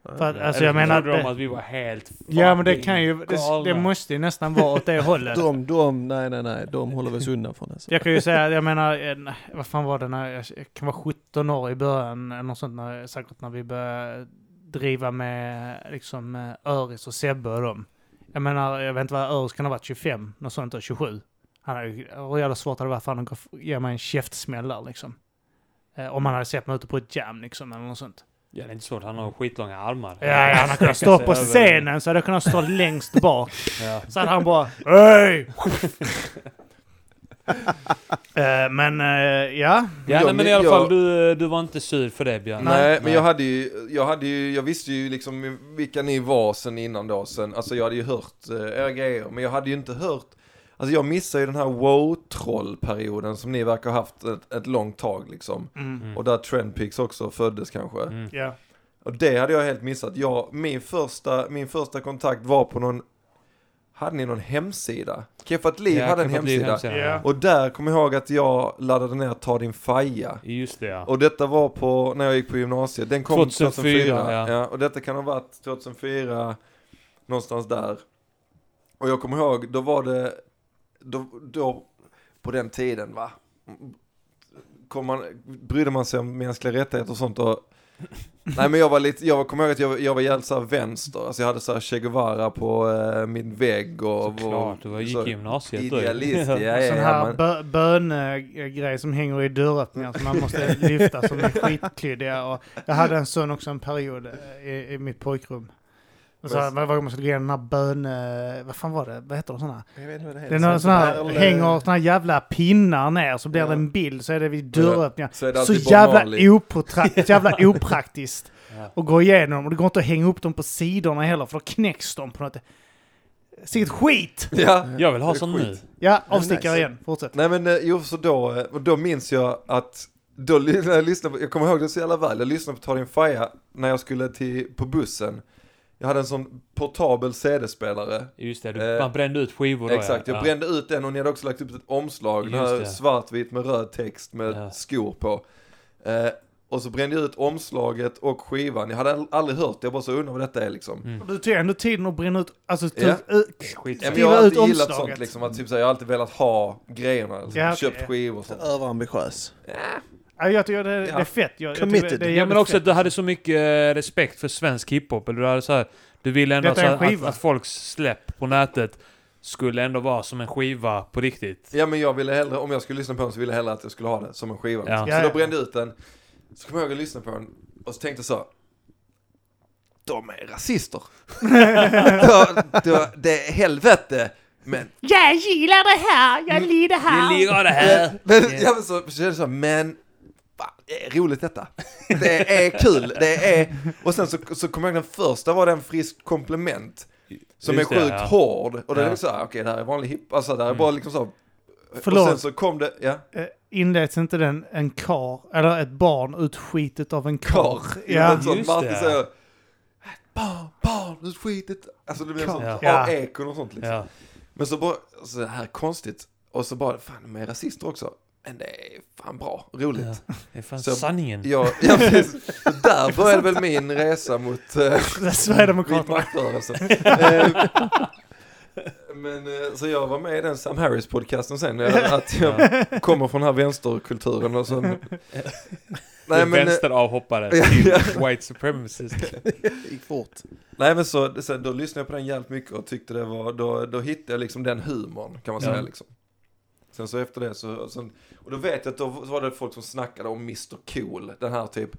För att, alltså jag Eller menar... trodde de Det, att vi var helt ja men det fucking kan ju, det, det galna. måste ju nästan vara åt det (laughs) hållet. De, de, nej, nej, nej, de håller vi oss undan från. Alltså. Jag kan ju säga, jag menar, en, vad fan var det när jag, jag kan vara 17 år i början eller något sånt, när, säkert när vi började driva med liksom eh, Öris och Sebbe och dem. Jag menar, jag vet inte vad Öris kan ha varit, 25, något sånt, eller 27. Han hade ju hur jävla svårt hade det varit för honom att gå- ge mig en käftsmäll där liksom. Eh, Om han hade sett mig ute på ett jam liksom, eller något sånt. Ja, det är inte svårt. Han har skitlånga armar. Ja, ja, han hade kunnat stå på scenen så hade jag kunnat stå längst bak. Ja. Så hade han bara Hej! (laughs) Eh, men eh, ja, Ja, Jag- nej, men i alla jag- fall, du, du var inte sur för det, Björn. Nej, men jag hade ju, jag hade ju, jag visste ju liksom vilka ni var sen innan då sen, alltså jag hade ju hört eh, era grejer, men jag hade ju inte hört, alltså jag missar ju den här wow-trollperioden som ni verkar ha haft ett, ett långt tag liksom. Mm. Och där Trendpix också föddes kanske. Mm. Ja. Och det hade jag helt missat. Jag, min, första, min första kontakt var på någon, hade ni någon hemsida? Keffat Liv Ja, hade en Kebab Liv hemsida. Ja. Och där kom jag ihåg att jag laddade ner Ta din faja. Just det, ja. Och detta var på, när jag gick på gymnasiet, den kom 2004, 2004. ja. ja. och detta kan ha varit 2004, någonstans där. Och jag kommer ihåg, då var det, då, då på den tiden va, kom man, brydde man sig om mänskliga rättigheter och sånt och Nej men jag var lite, jag var- kommer ihåg att jag, var- jag var jävligt såhär vänster, alltså jag hade såhär Che Guevara på eh, min vägg och... Såklart, du var- gick så i gymnasiet då ju. (laughs) Idealist, ja, ja, Sån ja, här men- bö- bönegrej som hänger i dörröppningar som man (laughs) måste lyfta som är skitklyddiga. Och jag hade en sån också en period eh, i, i mitt pojkrum. Och så här, varje gång man skulle gå igenom den här böne... Vad fan var det? Vad heter de såna? Jag vet inte vad det Det är någon sån här, hänger såna här jävla pinnar ner så blir det Ja. en bild så är det vid dörröppningar. Så är det Så alltid Bob jävla, Marley. oprotrakt, (laughs) jävla opraktiskt Ja. att gå igenom. Och det går inte att hänga upp dem på sidorna heller för då knäcks de på något... Sicket skit! Ja, Jag vill ha Det är sån nu. skit. Ja, avstickare nice. igen. Fortsätt. Nej men eh, jo, så då, eh, och då minns jag att, då ly- (laughs) när jag lyssnade på, jag kommer ihåg det så jävla väl, jag lyssnade på Ta din Faja när jag skulle till, på bussen. Jag hade en sån portabel CD-spelare. Just det, Eh, du, man brände ut skivor då, Exakt, Oh, ja. jag brände ut den och ni hade också lagt upp ett omslag, den Just här det. svartvit med röd text med Ja. skor på. Eh, och så brände jag ut omslaget och skivan, jag hade all- aldrig hört det, jag bara så undrar vad detta är liksom. Mm. Och Du tog ändå tiden att brinna ut, alltså typ, Ja. ö- Skit. Ja, men jag skriva har ut alltid gillat sånt omslaget. liksom, att typ såhär, jag har alltid velat ha grejerna, liksom. Ja, okej. köpt skivor och sånt. Överambitiös. Ja, jag tycker det, det är Ja. fett. Jag, jag Committed. tycker det är Ja men jävligt också fett. att du hade så mycket eh, respekt för svensk hiphop, eller du hade så här, du ville ändå Detta så är en här, att, skiva. att folks släpp på nätet skulle ändå vara som en skiva på riktigt. Ja men jag ville hellre, om jag skulle lyssna på den så ville jag hellre att jag skulle ha det som en skiva. Ja. Så Ja, ja. då brände jag ut den, så kom jag ihåg att lyssna på den och så tänkte jag så. De (laughs) är rasister. då, då, det är helvete. Men, Jag gillar det här, jag lider Vi här. ligger det här! men jag var så, så kände jag så, men fan, det är roligt detta. Det är kul, det är... Och sen så, så kom jag ihåg den första var den frisk komplement. Som Just är det, sjukt ja. hård. Och det Ja. Mm. är så här, okej det här är vanlig hipp, alltså det här är bara liksom så. Förlåt. Och sen så kom det, ja. Eh, Inleds inte den en kar, eller ett barn utskitet av en kar? kar. Ja. Innan sånt. Just Martin det. säger barn, barn, du skitit. Alltså det blir sånt Ja. Ja. av ekon och sånt liksom. Ja. Men så bara, så här konstigt. Och så bara, fan de är rasister också. Men det är fan bra, Ja. roligt. Det är fan Så- sanningen. Ja, ja (laughs) precis. Så Där började väl min resa mot eh, vit Sverigedemokraterna. maktrörelse. (laughs) Eh, Men eh, så jag var med i den Sam Harris-podcasten sen, eh, att jag kommer från den här vänsterkulturen (laughs) och sen... Nej, men, eh, Vänsteravhoppare Ja, till ja. white supremacist. Gick fort. Nej men så, sen då lyssnade jag på den jävligt mycket och tyckte det var, då, då hittade jag liksom den humorn kan man säga Ja. liksom. Sen så efter det så, och sen, och då vet jag att då var det folk som snackade om Mr Cool, den här typ,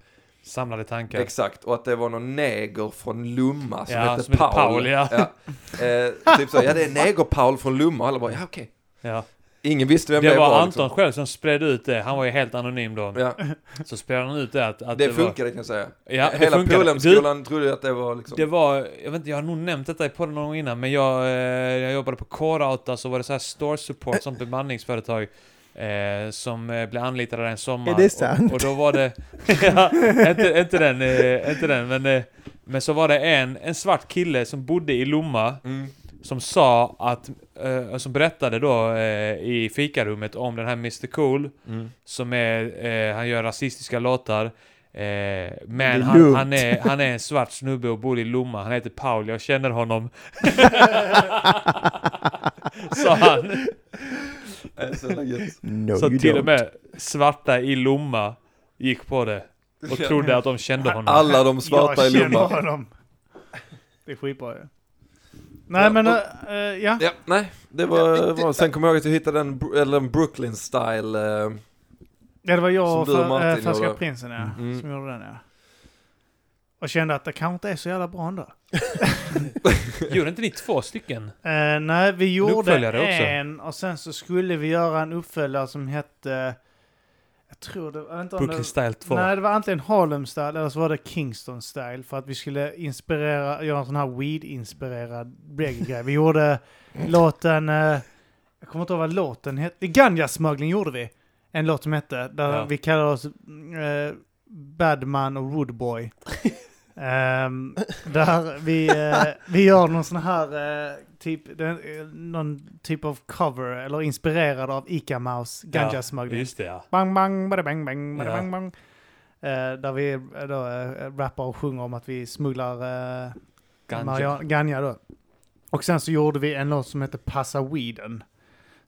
Samlade tankar. Exakt, och att det var någon neger från Lumma som Ja, hette som hette Paul. Paul, ja. Eh, typ så, ja det är neger-Paul från Lumma, alla bara ja okej. ja. Ingen visste vem det, Det var var. Anton själv som spred ut det. Han var ju helt anonym då. Liksom. Ja, Så spred han ut det att, att det, var- funkade kan jag säga. Ja, det Hela funkade. Polhemskolan trodde ju att det var liksom... Det var, jag vet inte, jag har nog nämnt detta i podden någon gång innan, men jag, eh, jag jobbade på K-Rauta så var det så här store support, som bemanningsföretag. Eh, som eh, blev anlitade en sommar. Är det Och, sant? och då var det... (laughs) ja, inte, inte den, eh, inte den men, eh, men så var det en, en svart kille som bodde i Lomma Mm. som sa att, eh, som berättade då eh, i fikarummet om den här Mr Cool som är, eh, han gör rasistiska låtar. Eh, men han, lugnt. han, är, han är en svart snubbe och bor i Lomma. Han heter Paul, jag känner (laughs) honom. Sa han. Eh, så jävla gött. No, Så you till och don't. med svarta i Lomma gick på det. Och Ja. trodde att de kände honom. Alla de svarta i jag känner Lumma. honom. Det är skitbra ju. Nej Ja, men, och- eh, eh, ja. Ja, nej, det var, var... Sen kommer jag ihåg att jag hittade en, Bru- eller en Brooklyn-style. Eh, ja. Det var jag Som och du och fa- eh, Martin Färska gjorde. Prinsen ja, Mm. som gjorde den ja. Och kände att det kanske inte är så jävla bra ändå. Gjorde inte ni två stycken? Eh, nej, vi gjorde uppföljare också. en och sen så skulle vi göra en uppföljare som hette... Jag tror det var... Inte om Brooklyn det, Style 2? Nej, det var antingen Harlem Style eller så var det Kingston Style för att vi skulle inspirera, göra en sån här weed-inspirerad reggae-grej. Vi gjorde låten, eh, jag kommer inte ihåg vad låten hette, Ganja-smuggling gjorde vi. En låt som hette, där Ja. vi kallade oss eh, Badman och Woodboy. Ehm, där vi, eh, vi gör någon sån här eh, typ, den, eh, någon typ av cover eller inspirerad av Ica Mouse, Ganja-smuggling. Just det ja. Bang, bang, bada bang, bang, bada Ja. bang, bang. Eh, där vi eh, då, eh, rappar och sjunger om att vi smugglar eh, Ganja. Marian- Ganja då. Och sen så gjorde vi en låt som hette Passa Weeden.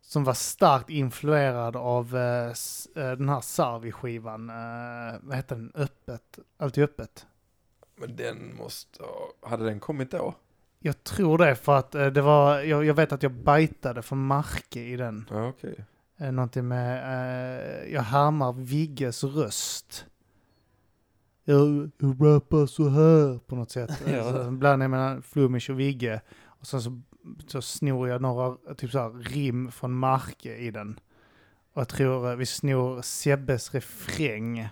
Som var starkt influerad av eh, s- eh, den här Sarvi-skivan. Eh, vad hette den? Öppet? Allt i öppet? men den måste... ha- Hade den kommit då? Jag tror det för att eh, det var, jag, jag vet att jag bajtade för Marke i den. Ja, okej. Eh, någonting med, eh, jag härmar Vigges röst. Jag, jag rappar så här på något sätt. Ja. alltså, bland jag menar Flummish och Vigge. Och sen så, så snor jag några typ så här, rim från Marke i den. Och jag tror eh, vi snor Sebbes refräng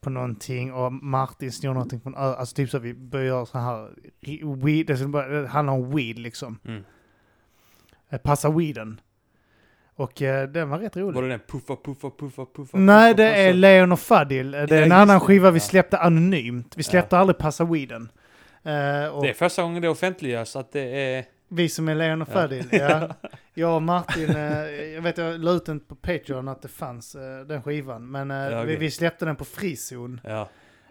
på någonting och Martin snor någonting från Ö. Alltså typ så att vi börjar så här, ri- weed, det ska bara- det handlar om weed liksom. Mm. Eh, Passa weeden. Och eh, den var rätt rolig. Var det den puffa, puffa, puffa, puffa? Nej, puffa, det är puffa? Leon och Fadil. Eh, Det är Ja, en just annan det. skiva vi Ja. släppte anonymt. Vi släppte aldrig Passa Weeden. Eh, och Det är första gången det offentliggörs att det är... Vi som är Leon och Ja. Fadil, (laughs) ja. Jag och Martin, eh, jag vet jag la ut den på Patreon att det fanns eh, den skivan. Men eh, vi, Ja, okej. vi släppte den på Frizon Ja.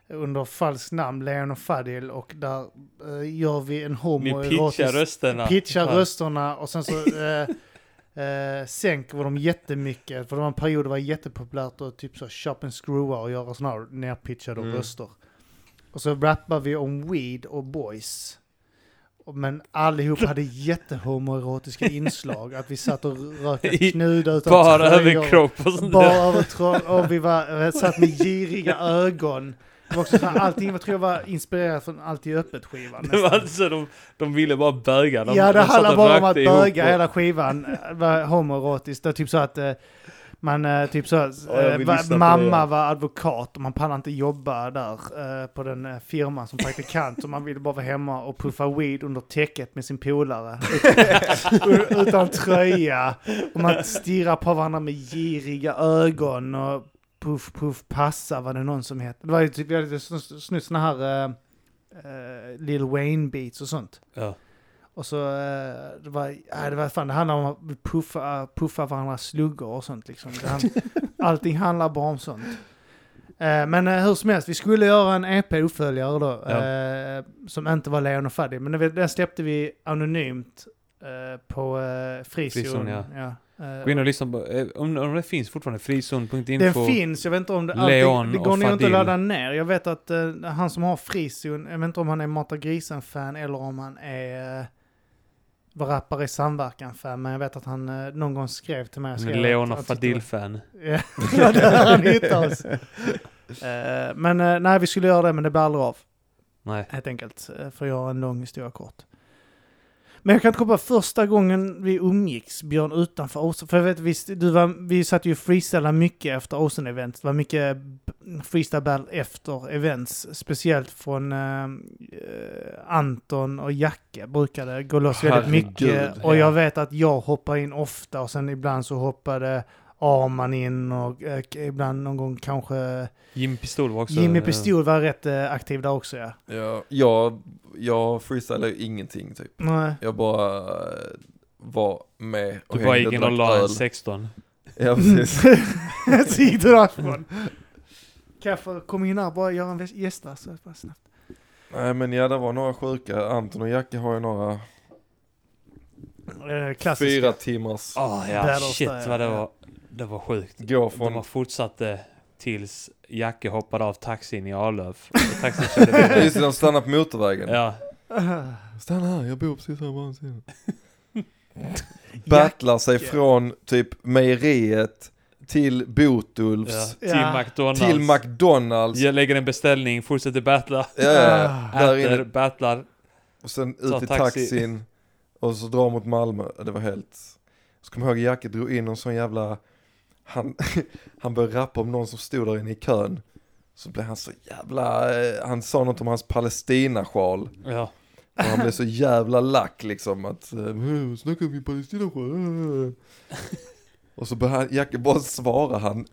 under falskt namn, Leon och Fadil. Och där eh, gör vi en Ni homoerotisk... pitchar rösterna. pitchar Ja. rösterna och sen (laughs) så eh, eh, sänker vi dem jättemycket. För det var en period det var jättepopulärt att typ så shop and screwa och göra sådana här nerpitchade Mm. röster. Och så rappar vi om weed och boys. Och- Men allihop hade jättehomoerotiska inslag. Att vi satt och rökte (laughs) I- knuda utan Bara tröjor. överkropp och sånt Bara där. övertro- och vi var, eh, satt med giriga ögon. Det var också så här, allting jag tror jag var inspirerat från Allt i öppet-skivan. Det var alltså, de, de ville bara böga. De, Ja, det de satt handlar och bara om att rökte ihop böga och- hela skivan. Det var homoerotiskt. Det var typ så att eh, man eh, typ så att, Ja, jag vill eh, va- lyssna på det, mamma ja. var advokat och man pallade inte jobba där eh, på den eh, firman som praktikant och man ville bara vara hemma och puffa weed under täcket med sin (laughs) polare. Ut- Utan tröja. Och man stirrar på varandra med giriga ögon och puff puff passa var det någon som hette. Det var ju typ, vi hade sn- snutt såna här eh, eh, Lil Wayne beats och sånt. Ja. Och så, eh, det var, nej, det var fan, det handlar om att puffa, puffa varandras sluggor och sånt liksom. Det (laughs) han, allting handlar bara om sånt. Eh, Men eh, hur som helst, vi skulle göra en EP-uppföljare då, Ja. eh, som inte var Leon och Faddy. Men den den släppte vi anonymt eh, på eh, Frizon. Frizon, ja. Ja, eh, Gå in och lyssna på... eh, Om, om det finns fortfarande, frizon.info. den finns, jag vet inte om det... Leon det och går nog inte att Fadil. ladda ner. Jag vet att eh, han som har frizon, jag vet inte om han är Mata Grisen-fan eller om han är... Uh, var rappare i samverkan-fan, men jag vet att han eh, någon gång skrev till mig. Han och (laughs) är skrev att- Leon och att- Fadil-fan. Ja, det har han hittat oss. Eh, men eh, nej, vi skulle göra det, men det blir aldrig av. Nej. Helt enkelt. eh, För jag har en lång historia kort. Men jag kan inte komma på första gången vi umgicks, Björn, utanför Åsen. För jag vet, visst, du var, vi satt ju och freestylade mycket efter Åsen-event. Det var mycket b- freestyle battle efter events. Speciellt från eh, eh, Anton och Jacke brukade gå loss väldigt Herregud, mycket. Och jag vet att jag hoppar in ofta och sen ibland så hoppade Arman in och eh, ibland någon gång kanske Jimmy Pistol var också... Jimmy eh, Pistol var rätt eh, aktiv där också ja. Ja, jag, jag freestylar ju ingenting typ. Nej. Jag bara eh, var med och Du bara hängde gick in och drack la en öl. 16. (laughs) Ja, precis. Så gick du därifrån. Kaffe, kom in här bara göra en väs- gästa. Så bara snabbt. Nej men ja, det var några sjuka. Anton och Jacke har ju några Eh, klassisk. (laughs) fyra timmars Ah ja, Battlestar, shit vad det ja. var. Det var sjukt. gå De har från... fortsatt det tills Jacke hoppade av taxin i Arlöv. Och Taxin körde (laughs) vidare. Just (laughs) det, de stannar på motorvägen. Ja. Stanna här, jag bor precis här på andra sidan. Ja, Battlar sig Jacke. från typ mejeriet till ja. Botulfs. Till Ja. McDonalds. Till McDonalds. Jag lägger en beställning, fortsätter battla. Ja, ja, Ah. där Äter, inne. battlar. Och sen Ta ut i taxi. taxin. Och så drar mot Malmö. Det var helt... Så kommer jag ihåg Jacke drog in en sån jävla... Han, (laughs) han började rappa om någon som stod där inne i kön. Så blev han så jävla... eh, Han sa något om hans Palestina-sjal. Ja. Och han (laughs) blev så jävla lack liksom att eh, snacka om Palestina själv." (laughs) Och så började Jacke bara svara han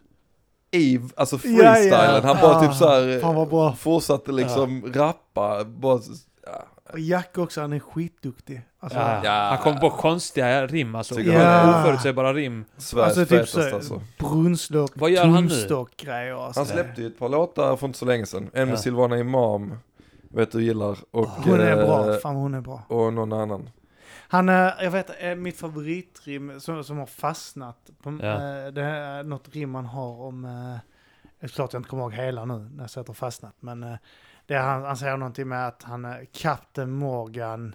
i, alltså freestylen, ja. han bara typ Ah, såhär Fan vad bra. fortsatte liksom rappa, bara, s- ja, Och Jack också, han är skitduktig. Alltså, Ja. Ja. Han kom på konstiga rim alltså. Tycker jag. Oförutsägbara rim. Sveriges Alltså, typ så- fetaste alltså. brunnslock, Vad gör han nu? tumstock-grejer. Alltså. Han släppte ju ett par låtar för inte så länge sedan, en med Ja. Silvana Imam, vet du gillar, och, Hon är bra, eh, fan hon är bra. och någon annan. Han, eh, jag vet, eh, mitt favoritrim som, som har fastnat, på, Ja. eh, det är något rim man har om, eh, det är klart jag inte kommer ihåg hela nu när jag säger att det har fastnat, men eh, det är, han, han säger någonting med att han är Captain Morgan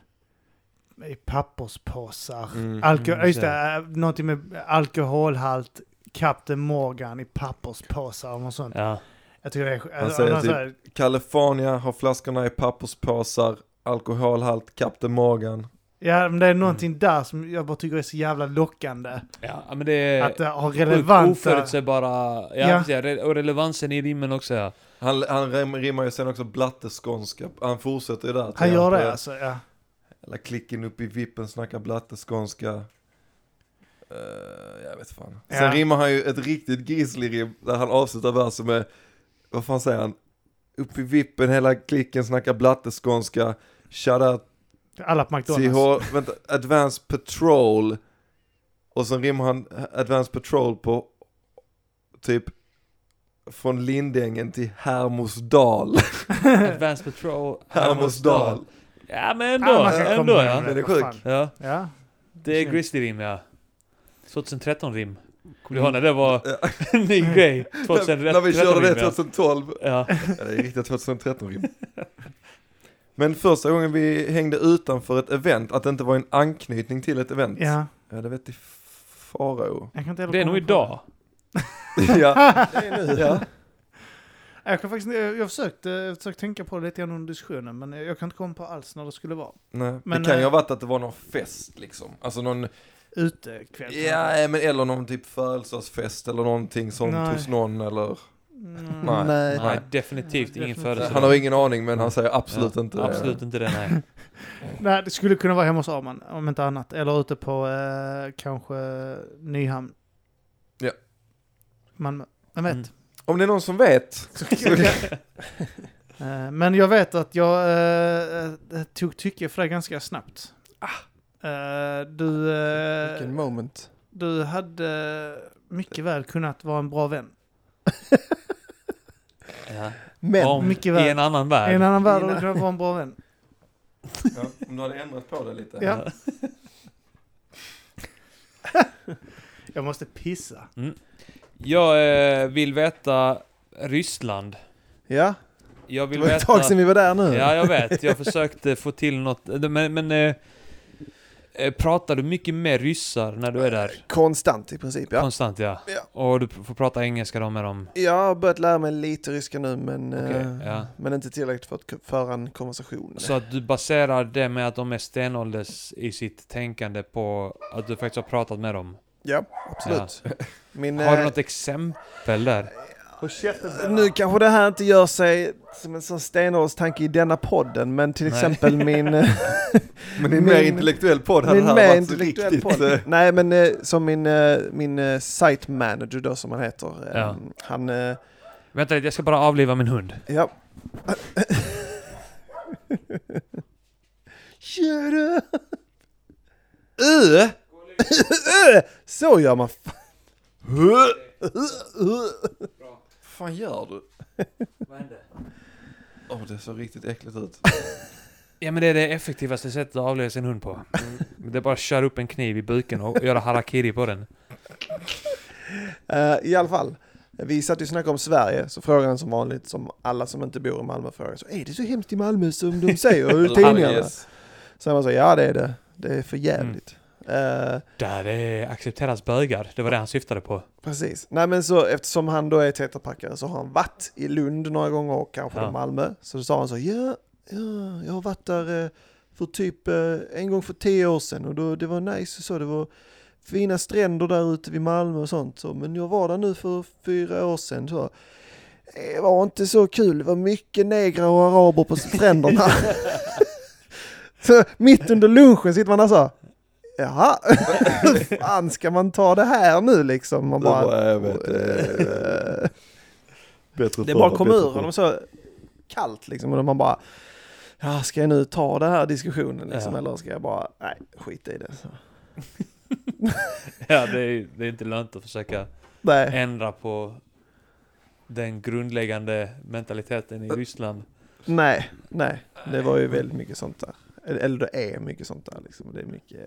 i papperspåsar. Mm, Alko- mm, just så. det, eh, någonting med alkoholhalt, Captain Morgan i papperspåsar och något sånt. Ja. Jag tycker det är... Han eh, säger någon typ- sån här- California har flaskorna i papperspåsar, alkoholhalt, Kapten Morgan. ja, men det är Mm. någonting där som jag bara tycker är så jävla lockande. ja, men det är... Eh, Att det har sjukt relevanta... Oförutsägbara... Ja, Ja. precis, ja. re- Och relevansen i rimmen (laughs) också ja. Han, han rim- rimmar ju sen också blatteskånska, han fortsätter ju där. Han gör På- det alltså, ja. Eller klicken upp i vippen, snackar blatteskånska. Eh, jag vet fan. Ja. Sen rimmar han ju ett riktigt grizzly-rim där han avslutar versen med, vad fan säger han? Upp i vippen, hela klicken snackar blatteskånska. Shout out Alla på McDonalds. TH, vänta, Advanced Patrol. Och sen rimmar han Advanced Patrol på typ från Lindängen till Hermosdal. Advanced Patrol. Hermosdal. Ja men ändå. Ja, man kan komma ändå ja. ihåg Men det är vad sjukt. fan. ja. Ja. Det är Snyggt. Grizzly-rim ja. 2013-rim. Kommer du ihåg när det var (laughs) en ny grej? 2013 När vi körde det rim, ja. 2012. Ja. Ja, det är riktiga 2013-rim. Men första gången vi hängde utanför ett event, att det inte var en anknytning till ett event. ja, Ja, det vet i farao. jag kan inte heller Det är komma nog på idag. (laughs) (laughs) ja, det är nu. Ja. det. Jag, kan faktiskt, jag jag försökte, jag försökte tänka på det lite grann under diskussionen, men jag kan inte komma på alls när det skulle vara. Nej, Men, det kan ju eh, ha varit att det var någon fest liksom. Alltså någon Utekväll. Ja, eh, men eller någon typ födelsedagsfest eller någonting sånt Nej. hos någon eller... Mm. Nej. Nej. Nej, definitivt Ja, ingen definitivt. födelsedag. Han har ingen aning men han säger absolut Ja, inte det. Absolut inte det, nej. Nej, det skulle kunna vara hemma hos Arman, om inte annat. Eller ute på eh, kanske Nyhamn. Ja. Malmö. Vem vet? Mm. Om det är någon som vet. Eh, Men jag vet att jag eh, eh, tog tycke för det ganska snabbt. Eh, Du, eh, Vilken moment. du hade mycket väl kunnat vara en bra vän. Ja. Men Om, mycket I väl. en I annan en värld. annan värld hade du kunnat vara en bra (laughs) vän. om du hade ändrat på det lite. Ja. Jag måste pissa. Jag eh, vill veta Ryssland. ja, Jag det vill var ett veta... tag sedan vi var där nu. Ja, jag vet. Jag försökte få till något. Men, men eh, Eh, Pratar du mycket med ryssar när du är där? Konstant i princip, ja. Konstant ja. Ja. Och du p- får prata engelska då med dem? Jag har börjat lära mig lite ryska nu, men, Okej, eh, ja. men inte tillräckligt för att k- föra en konversation. Så att du baserar det med att de är stenålders i sitt tänkande på att du faktiskt har pratat med dem? Ja, absolut. Min, Har du eh, något exempel där? Håll käften. Nu kanske det här inte gör sig som en sån stenålderstanke i denna podden, men till Nej. exempel (laughs) min... eh, Men i en Min- mer intellektuell podd hade det min här mer varit intellektuell riktigt... podd. eh, Nej, men eh, som min, eh, min eh, site manager då, som han heter. eh, Ja. Han... eh, Vänta lite, jag ska bara avliva min hund. Ja. (laughs) Shut up! Ö. (laughs) Ö. Så gör man. fan. fan gör du? Vad hände? Åh, det såg riktigt äckligt ut. Ja men det är det effektivaste sättet att avliva sin hund på. Det är bara att köra upp en kniv i buken och göra harakiri på den. Eh, I alla fall. Vi satt ju och snackade om Sverige, så frågan som vanligt, som alla som inte bor i Malmö frågar, så är det så hemskt i Malmö som de säger i tidningarna? Yes. Så man säger, ja det är det, det är för jävligt. Eh, Där det accepteras bögar, det var det han syftade på. Precis. Nej men så eftersom han då är tetrapackare så har han varit i Lund några gånger och kanske Ja. i Malmö. Så då sa han så, ja, ja jag har varit där eh, för typ eh, en gång för tio år sedan och då, det var nice och så, det var fina stränder där ute vid Malmö och sånt. Så, men jag var där nu för fyra år sedan så. Det var inte så kul, det var mycket negrer och araber på stränderna. så mitt under lunchen sitter man där så. här, Jaha, hur fan ska man ta det här nu liksom? Man Du bara, bara, jag vet, eh, (laughs) Bättre det förr, bara kom bättre ur förr. honom så kallt liksom. Och man bara, ja, ska jag nu ta den här diskussionen liksom, Ja. eller ska jag bara, nej, skit i det. Så. Ja, det är, det är inte lönt att försöka Nej, ändra på den grundläggande mentaliteten i Ryssland. nej, nej, det var ju väldigt mycket sånt där. Eller- Eller det är mycket sånt där liksom. Det är mycket...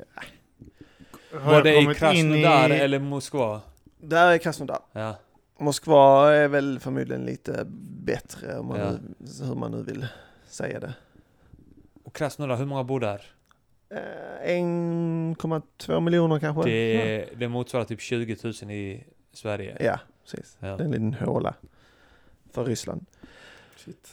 Har Var jag det i kommit in Krasnodar eller Moskva? Där är Krasnodar. Ja. Moskva är väl förmodligen lite bättre om man Ja. nu, hur man nu vill säga det. Och Krasnodar, hur många bor där? Eh, 1,2 miljoner kanske? Det, det motsvarar typ 20 000 i Sverige. Ja, precis. Ja. Det är en liten håla för Ryssland.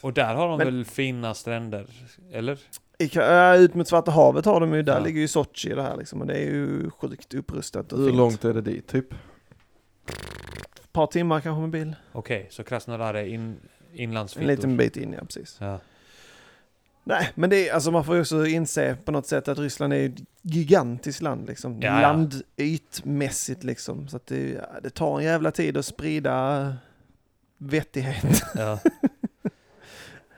Och där har de Men- väl fina stränder? Eller? I, Ka- ja, ut mot Svarta havet har de ju, där Ja. ligger ju Sochi och det här liksom och det är ju sjukt upprustat och Hur fint. långt är det dit, typ? Ett par timmar kanske med bil. Okej, så Krasnodar är in, En inlandsfittor? liten bit in, ja precis. Ja. Nej, men det är, alltså man får ju också inse på något sätt att Ryssland är ett gigantiskt land liksom. Ja, ja. Landytmässigt liksom. Så att det, ja, det tar en jävla tid att sprida vettighet. Ja.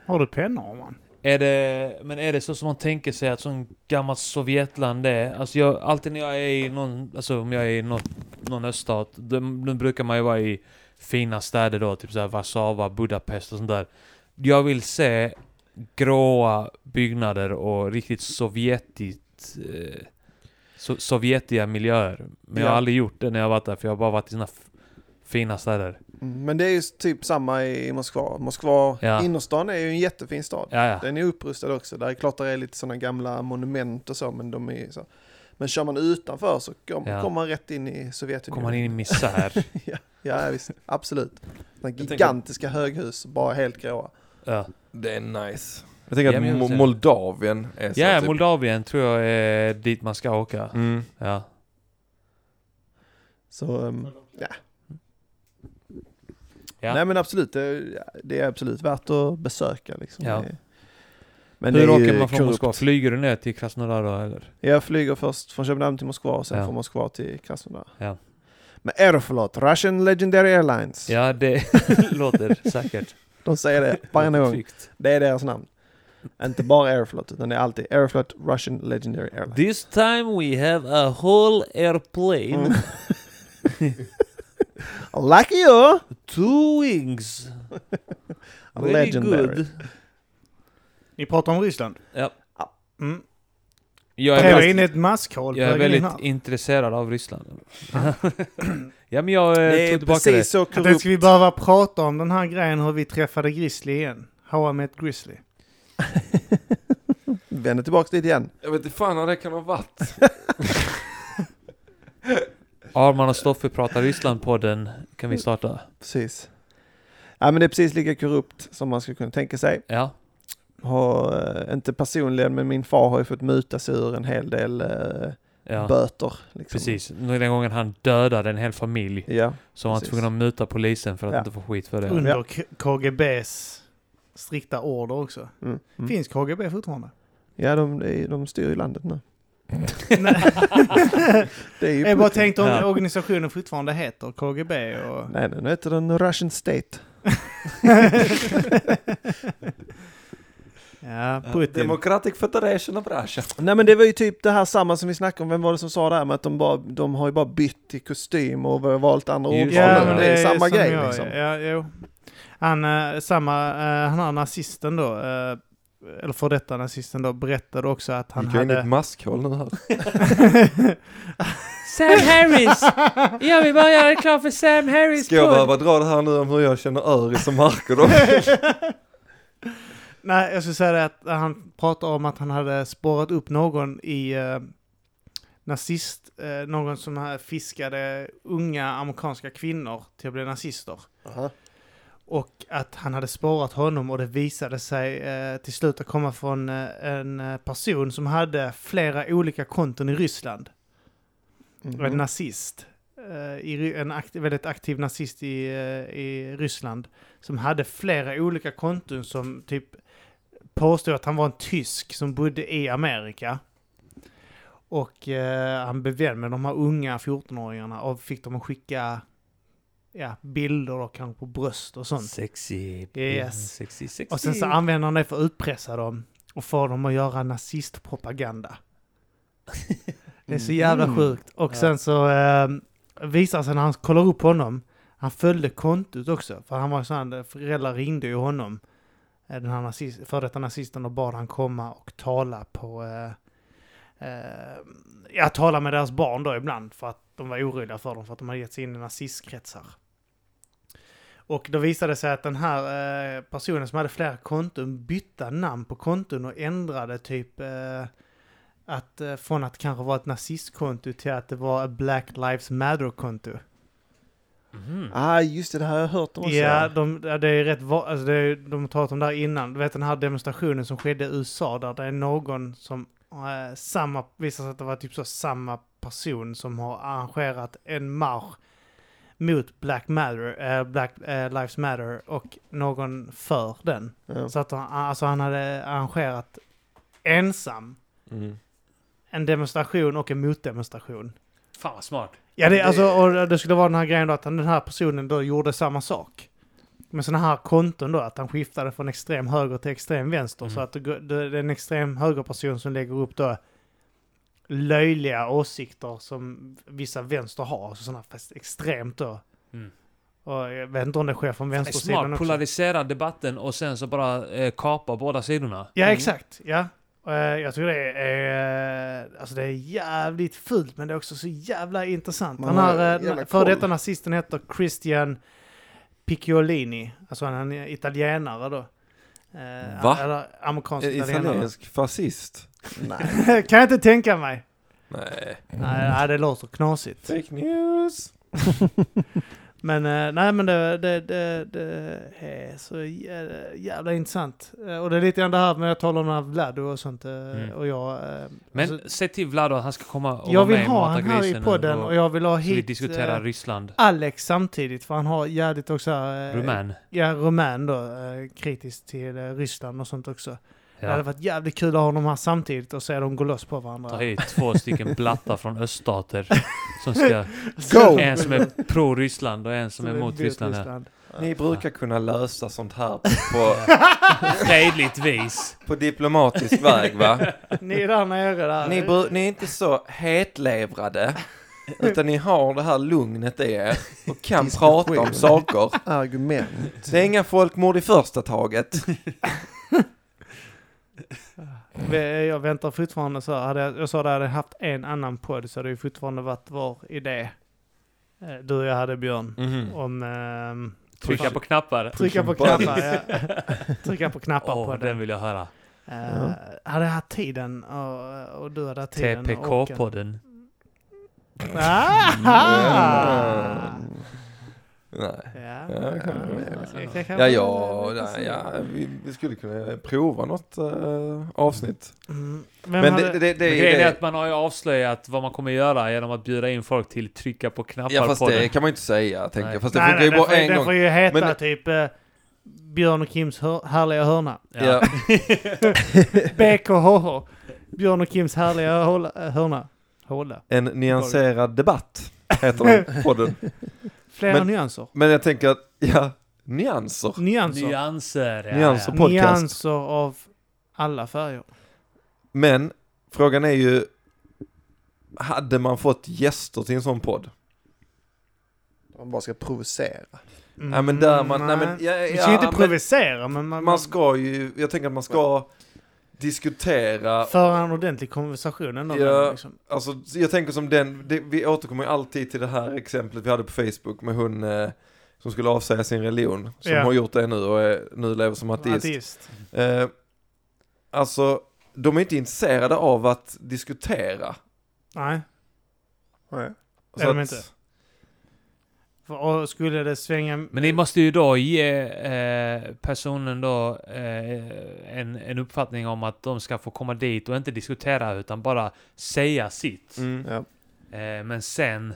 Har du pennor man? Är det, men är det så som man tänker sig att sån gammalt Sovjetland är? Alltså jag, alltid när jag är i någon, alltså om jag är i något, någon öststat, då, då brukar man ju vara i fina städer då, typ såhär Warszawa, Budapest och sånt där. Jag vill se gråa byggnader och riktigt sovjetigt, eh, so, sovjetiga miljöer. Men jag har Ja. aldrig gjort det när jag varit där, för jag har bara varit i såna f- fina städer. Mm, Men det är ju typ samma i Moskva. Moskva, Ja. innerstan är ju en jättefin stad. Ja, ja. Den är upprustad också. Där är klart det är lite sådana gamla monument och så, men de är så. Men kör man utanför så kom, Ja. kommer man rätt in i Kommer Sovjetunionen. man in i misär. (laughs) Ja, ja, visst. Absolut. Såna tänker- gigantiska höghus, bara helt gråa. (laughs) ja. Det är nice. Jag tänker Ja, att men jag Mo- ser det. Moldavien är så Ja, typ. Moldavien tror jag är dit man ska åka. Mm. Ja. Så, ehm, Ja. nej men absolut, det, ja, det är absolut värt att besöka liksom. Ja. Det- Men Hur det är åker ju man från korrupt. Moskva? Flyger du ner till Krasnodar då eller? Jag flyger först från Köpenhamn till Moskva och sen Ja. från Moskva till Krasnodar. Ja. Men Aeroflot, Russian Legendary Airlines. Ja, det (laughs) låter säkert. De säger det (laughs) varje gång. Tryggt. Det är deras namn. Inte bara Aeroflot, utan det är alltid Aeroflot Russian Legendary Airlines. This time we have a whole airplane, Mm. Lucky you! two wings. Very Legendary. good. Ni pratar om Ryssland? Ja. Mm. Jag Jag är, är väldigt, inne i ett maskhål. jag är på vägen in väldigt här. intresserad av Ryssland. (laughs) ja, men jag eh, Det är tog tillbaka precis det. så Inte korrupt. ska vi behöva prata om den här grejen hur vi träffade Grizzly igen. How I met Grizzly. vänder tillbaks dit igen. Jag vet inte fan när det kan ha varit. (laughs) Arman och Stoffe pratar Ryssland-podden. Kan vi starta? Precis. Ja, men det är precis lika korrupt som man skulle kunna tänka sig. Ja. Har, eh, inte personligen, men min far har ju fått muta sig ur en hel del eh, ja. böter. Liksom. Precis. Den gången han dödade en hel familj Ja, så var han Precis. tvungen att muta polisen för att Ja. inte få skit för det. Ja. Under K- KGBs strikta order också. mm. Mm. Finns KGB (laughs) fortfarande? ja de, det är- de styr ju landet nu. Nej. Det är ju Jag bara Putin. tänkte om Ja. organisationen fortfarande heter KGB (laughs) och... Nej, nu heter den Russian State. ja, Putin. Democratic Federation of Russia. Nej men det var ju typ det här samma som vi snackade om, vem var det som sa det här med att de, bara, de har ju bara bytt i kostym och valt andra Just ord. det. Ja, men det det är samma som grej jag, liksom. Ja, jo. Han, eh, samma, eh, han här nazisten då, eh, eller för detta nazisten då, berättade också att han Gick jag in i ett hade... maskhål nu här? (laughs) Sam Harris! Jag vill bara göra reklam för Sam Harris Ska jag podd. behöva dra det här nu om hur jag känner Öris och Marco (laughs) då? Mm. (laughs) Nej, jag skulle säga det att han pratade om att han hade spårat upp någon i eh, nazist, eh, någon som här fiskade unga amerikanska kvinnor till att bli nazister. Aha. Och att han hade spårat honom och det visade sig eh, till slut att komma från eh, en eh, person som hade flera olika konton i Ryssland. Mhm. En nazist. eh, I, Ry- en aktiv, väldigt aktiv nazist i, eh, i Ryssland. Som hade flera olika konton som typ påstod att han var en tysk som bodde i Amerika. Och eh, han blev vän med de här unga 14-åringarna och fick dem att skicka ja, bilder och kanske på bröst och sånt. Sexy. Yes. Sexy, sexy. Och sen så använder han det för att utpressa dem och få dem att göra nazistpropaganda. Det är så jävla sjukt. Och sen så eh, visar det sig när han kollar upp honom, han följde kontot också, för han var sån, föräldrar ringde ju honom, eh, den här nazist, före detta nazisten, och bad han komma och tala på, eh, eh, ja tala med deras barn då ibland, för att de var oroliga för dem, för att de hade gett sig in i nazistkretsar. Och då visade det sig att den här eh, personen som hade flera konton bytte namn på konton och ändrade typ eh, att eh, från att kanske vara ett nazistkonto till att det var ett Black Lives Matter-konto. Mhm. Ah, just det, det här har jag hört om också. Ja, de, ja, det är rätt va- alltså det är, de har talat om det här innan. Du vet den här demonstrationen som skedde i USA där det är någon som eh, samma, visar sig att det var typ så samma person som har arrangerat en marsch mot Black, Matter, eh, Black eh, Lives Matter och någon för den. Ja. Så att han, alltså han hade arrangerat ensam Mm. en demonstration och en motdemonstration. Fan vad smart. Ja, det, alltså, och det skulle vara den här grejen då att den här personen då gjorde samma sak. Med sådana här konton då, att han skiftade från extrem höger till extrem vänster. Mm. Så att det, går- det, det är en extrem högerperson som lägger upp då löjliga åsikter som vissa vänster har. Alltså sådana fast extremt då. Mm. Och jag vet inte om det sker från Det är vänstersidan smart. också. Polarisera debatten och sen så bara eh, kapa båda sidorna. Mm. Ja, exakt. Ja. Och, eh, Jag tycker det är, eh, alltså det är jävligt fult men det är också så jävla intressant. Man Den har här jävla eh, före koll. detta nazisten heter Christian Picciolini, alltså han är italienare då. Eh, Va? Eller amerikansk En (laughs) italienare. italiensk fascist? Nej. kan jag inte tänka mig. Nej. Nej, nej, det låter knasigt. Fake news. Men eh, nej, men det, det, det, det är så jä- jävla intressant. Eh, Och det är lite grann det här med att tala om den här Vlado och sånt eh, Mm. och jag. eh, Men alltså- se till Vlad att han ska komma och Jag vara vill med i ha han här i Matagrisen podden och jag vill ha så vi hit diskuterar eh, Ryssland. Alex samtidigt för han har jävligt också... eh, Rumän. Ja, rumän då. eh, kritisk till eh, Ryssland och sånt också. Det hade Ja. varit jävligt kul att ha dem här samtidigt och se dem gå loss på Ta varandra. hit två stycken blattar (laughs) från öststater. Som ska, Go! en som är pro-Ryssland och en som är Så det mot blir Ryssland. ja. Ni brukar kunna lösa sånt här på, Fredligt vis. på diplomatisk väg va? (laughs) Ni är där nere där. Ni, bru- ni är inte så hetlevrade, utan ni har det här lugnet i er och kan prata om saker. Argument. Det är inga folkmord i första taget. Vi- Jag väntar fortfarande så här. Hade jag, jag sa det, hade jag haft en annan podd så hade det ju fortfarande varit vår idé. Eh, Du och jag hade Björn. Mhm. Mm. Om... ehm, Trycka på knappar. (laughs) Trycka på knappar, ja. Trycka på knappar Åh, på den den. vill jag höra. Eh, Ja. Hade jag haft tiden och, och du hade haft tiden. och orken. TPK-podden. Ah! Mm. Nej. Ja, Ja, det kan man Ja, eh, väl. det kan Ja, man ja, väl ja, se. ja vi, vi skulle kunna prova något eh, avsnitt. Mm. Vem Men hade- det, det, det, Men det, Grejen är det, att man har ju avslöjat vad man kommer göra genom att bjuda in folk till trycka på ja, knappar fast på det den. kan man ju inte säga, tänker jag. Fast det nej, funkar ju den bara får, en den gång. får ju heta Men det- typ eh, Björn och Kims hör, härliga (laughs) hörna. Ja. BKH. Björn och Kims härliga håla, hörna. Håla. En nyanserad debatt heter den podden. Flera Men- nyanser. Men jag tänker att, ja, nyanser. Nyanser. (laughs) Nyanser. Ja, Nyanser ja. podcast. Nyanser av alla färger. Men frågan är ju, hade man fått gäster till en sån podd? Man bara ska provocera. Mm, Nej men där man, nej men, ja, Vi ska ju ja, inte men provocera, men man, man ska ju, jag tänker att man ska diskutera, föra en ordentlig konversation ändå. Ja. Liksom. alltså jag tänker som den, det, vi återkommer ju alltid till det här exemplet vi hade på Facebook med hon eh, som skulle avsäga sin religion, som Ja. har gjort det nu och är, nu lever som ateist. Ateist. Eh, alltså, de är inte intresserade av att diskutera. Nej. Nej. Är de inte? För- Och skulle det svänga... Men ni måste ju då ge eh, personen då eh, en, en uppfattning om att de ska få komma dit och inte diskutera utan bara säga sitt. Mm. Ja. Eh, men sen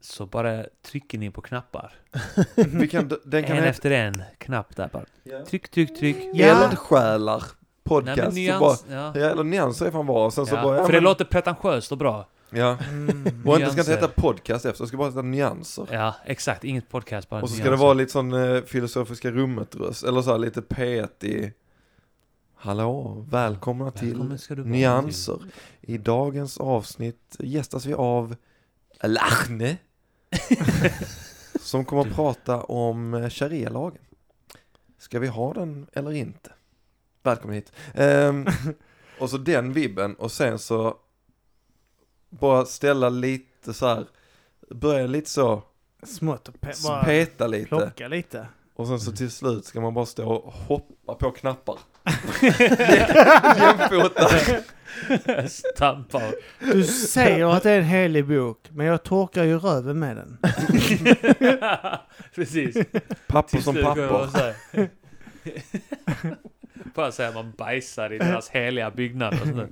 så bara trycker ni på knappar. Vi kan, (laughs) den kan en heta efter en knapp där bara. Tryck, tryck, tryck. Ja. Eldsjälar Nej, podcast. men så bara, nyans, ja. ja, eller nyanser är fan bra. Och sen så Ja. bara, ja, För det men- låter pretentiöst och bra. Ja. Mm. Och inte ska inte Nyanser. heta podcast efter, det ska bara heta nyanser. Ja, exakt. Inget podcast, bara Och så ska det nyanser. vara lite sån eh, filosofiska rummet-röst, eller så här lite petig. Hallå, välkomna till Välkommen ska du vara Nyanser. I dagens avsnitt gästas vi av Lahne. som kommer att prata om eh, sharia-lagen. Ska vi ha den eller inte? Välkommen hit. (laughs) Ehm, och så den vibben och sen så bara ställa lite så här, börja lite så, Smått och pe- bara peta lite. plocka lite. Och sen så till slut ska man bara stå och hoppa på knappar. till. (laughs) (laughs) Stampar. Du säger att det är en helig bok, men jag torkar ju röven med den. Precis. Papper Till som slut går jag papper. och så här. (laughs) Bara säga man bajsar i deras heliga byggnad och sånt där.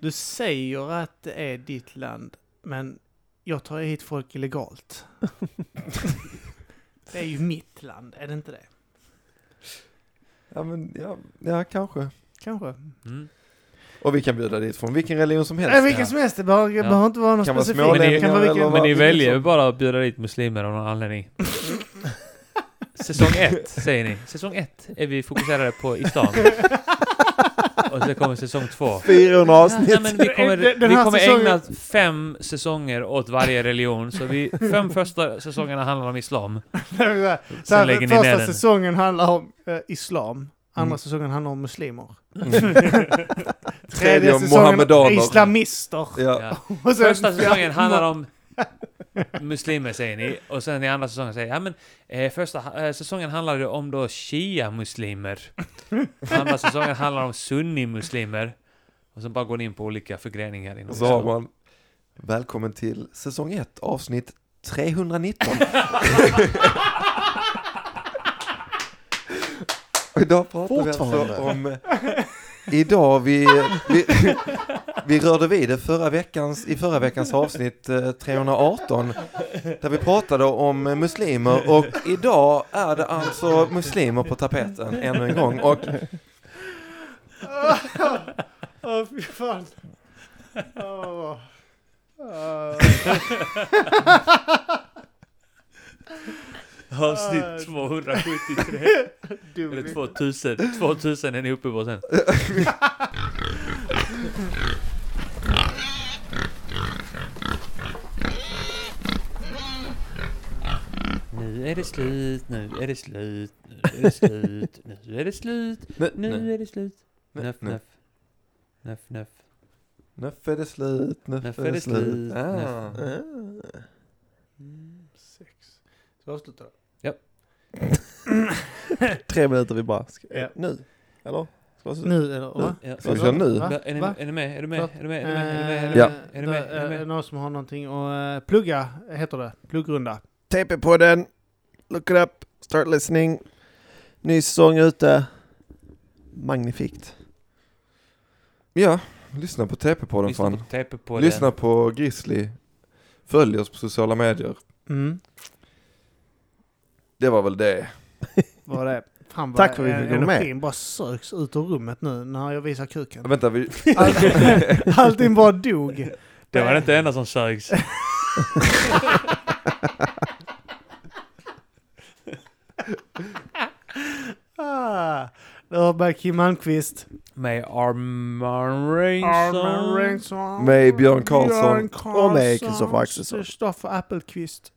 Du säger att det är ditt land, men jag tar hit folk (laughs) illegalt. Det är ju mitt land, är det inte det? Ja, men, ja, ja, kanske. Kanske. Mm. Och vi kan bjuda dit från vilken religion som helst. Äh, vilken som helst, det behöver, Ja. behöver inte vara någon Kan vara specifik. smålänningar Det kan vara vilken- eller Men vad- ni vilket väljer ju som- bara att bjuda dit muslimer av någon anledning. (laughs) Säsong ett, säger ni. Säsong ett är vi fokuserade på islam. Och så kommer säsong två. 400 avsnitt. Nej, men vi (laughs) kommer, Den- den vi här kommer säsongen- ägna fem säsonger åt varje religion. Så (laughs) vi, fem första säsongerna handlar om islam. Så här, lägger ni första ner den. Mm. säsongen handlar om eh, islam, andra säsongen handlar om (laughs) muslimer. Mm. Tredje om säsongen mohammedaner. (laughs) islamister. Ja. Ja. Och sen- Första säsongen handlar om muslimer säger ni. Och sen i andra säsongen säger ja men eh, första eh, säsongen handlar det om då shia-muslimer. Andra säsongen handlar om sunni-muslimer. Och sen bara går ni in på olika förgreningar inom Och så har man Välkommen till säsong 1 avsnitt (laughs) 319. Och idag pratar vi Fortfarande. alltså om Idag vi, vi, vi rörde vid det förra veckans, i förra veckans avsnitt eh, 318 där vi pratade om eh, muslimer och idag är det alltså muslimer på tapeten ännu en gång och (laughs) Åh, fy fan. Åh. Åh. Avsnitt 273. Dum (laughs) Eller 2000. 2000 är ni uppe på sen. Nu är det slut, nu är det slut, nu är det slut, nu är det slut, nu, nu är det slut. nu- Nuff, nu- nuff. Nuff, nuff. nu är det slut, nu Nuff är det slut. Ah. sex. Ska vi avsluta då? Tre minuter vi bara. Ska, Ja. Nu? Eller? Slåss ut. Nu eller? Va? Ja. Ska vi köra nu? Va? Är ni- Va? är ni med? Är du med? Förlåt. Är du med? Är du med? Är du Eh, med? Är du med? Är du då, med? Är du eh, med? Någon som har någonting att eh, plugga, heter det. Pluggrunda. TP-podden. Look it up. Start listening. Ny säsong ute. Magnifikt. Ja, lyssna på TP-podden Lyssna fan. på TP på den. Lyssna på Grizzly. Följ oss på sociala medier. Mm. Det var väl det. Var det? Fan vad Tack för att vi en- fick vara med. Energin bara söks ut ur rummet nu när jag visar (laughs) kuken. Vänta, vi... Allting, allting bara dog. Det var inte det enda som sögs. Ah, det var bara Kim Malmqvist. May Arman Ringsson. Arman Rengsson. Med Björn Karlsson. Och med Kristoffer Axelsson. Kristoffer (laughs) Appelqvist.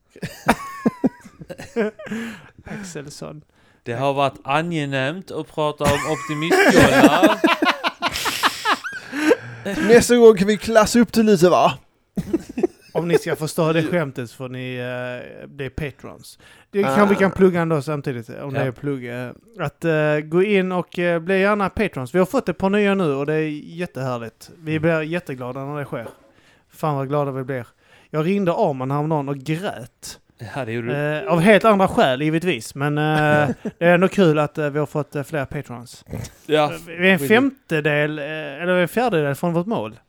Axelsson. Det har varit angenämt att prata om optimistjollar. Nästa gång kan vi klassa upp det lite va? Om ni ska förstå det skämtet får ni, eh, det är patrons. Det kan, Vi kan plugga ändå samtidigt om det Ja. är plugg. eh, Att eh, gå in och eh, bli gärna patrons. Vi har fått ett par nya nu och det är jättehärligt. Vi blir jätteglada när det sker. Fan vad glada vi blir. Jag ringde Arman häromdagen och grät. (laughs) ja, det gjorde du. Eh, av helt andra skäl givetvis, men eh, det är ändå kul att eh, vi har fått eh, fler patrons. Ja, Eh, Vi är en femtedel, eh, eller en fjärdedel från vårt mål.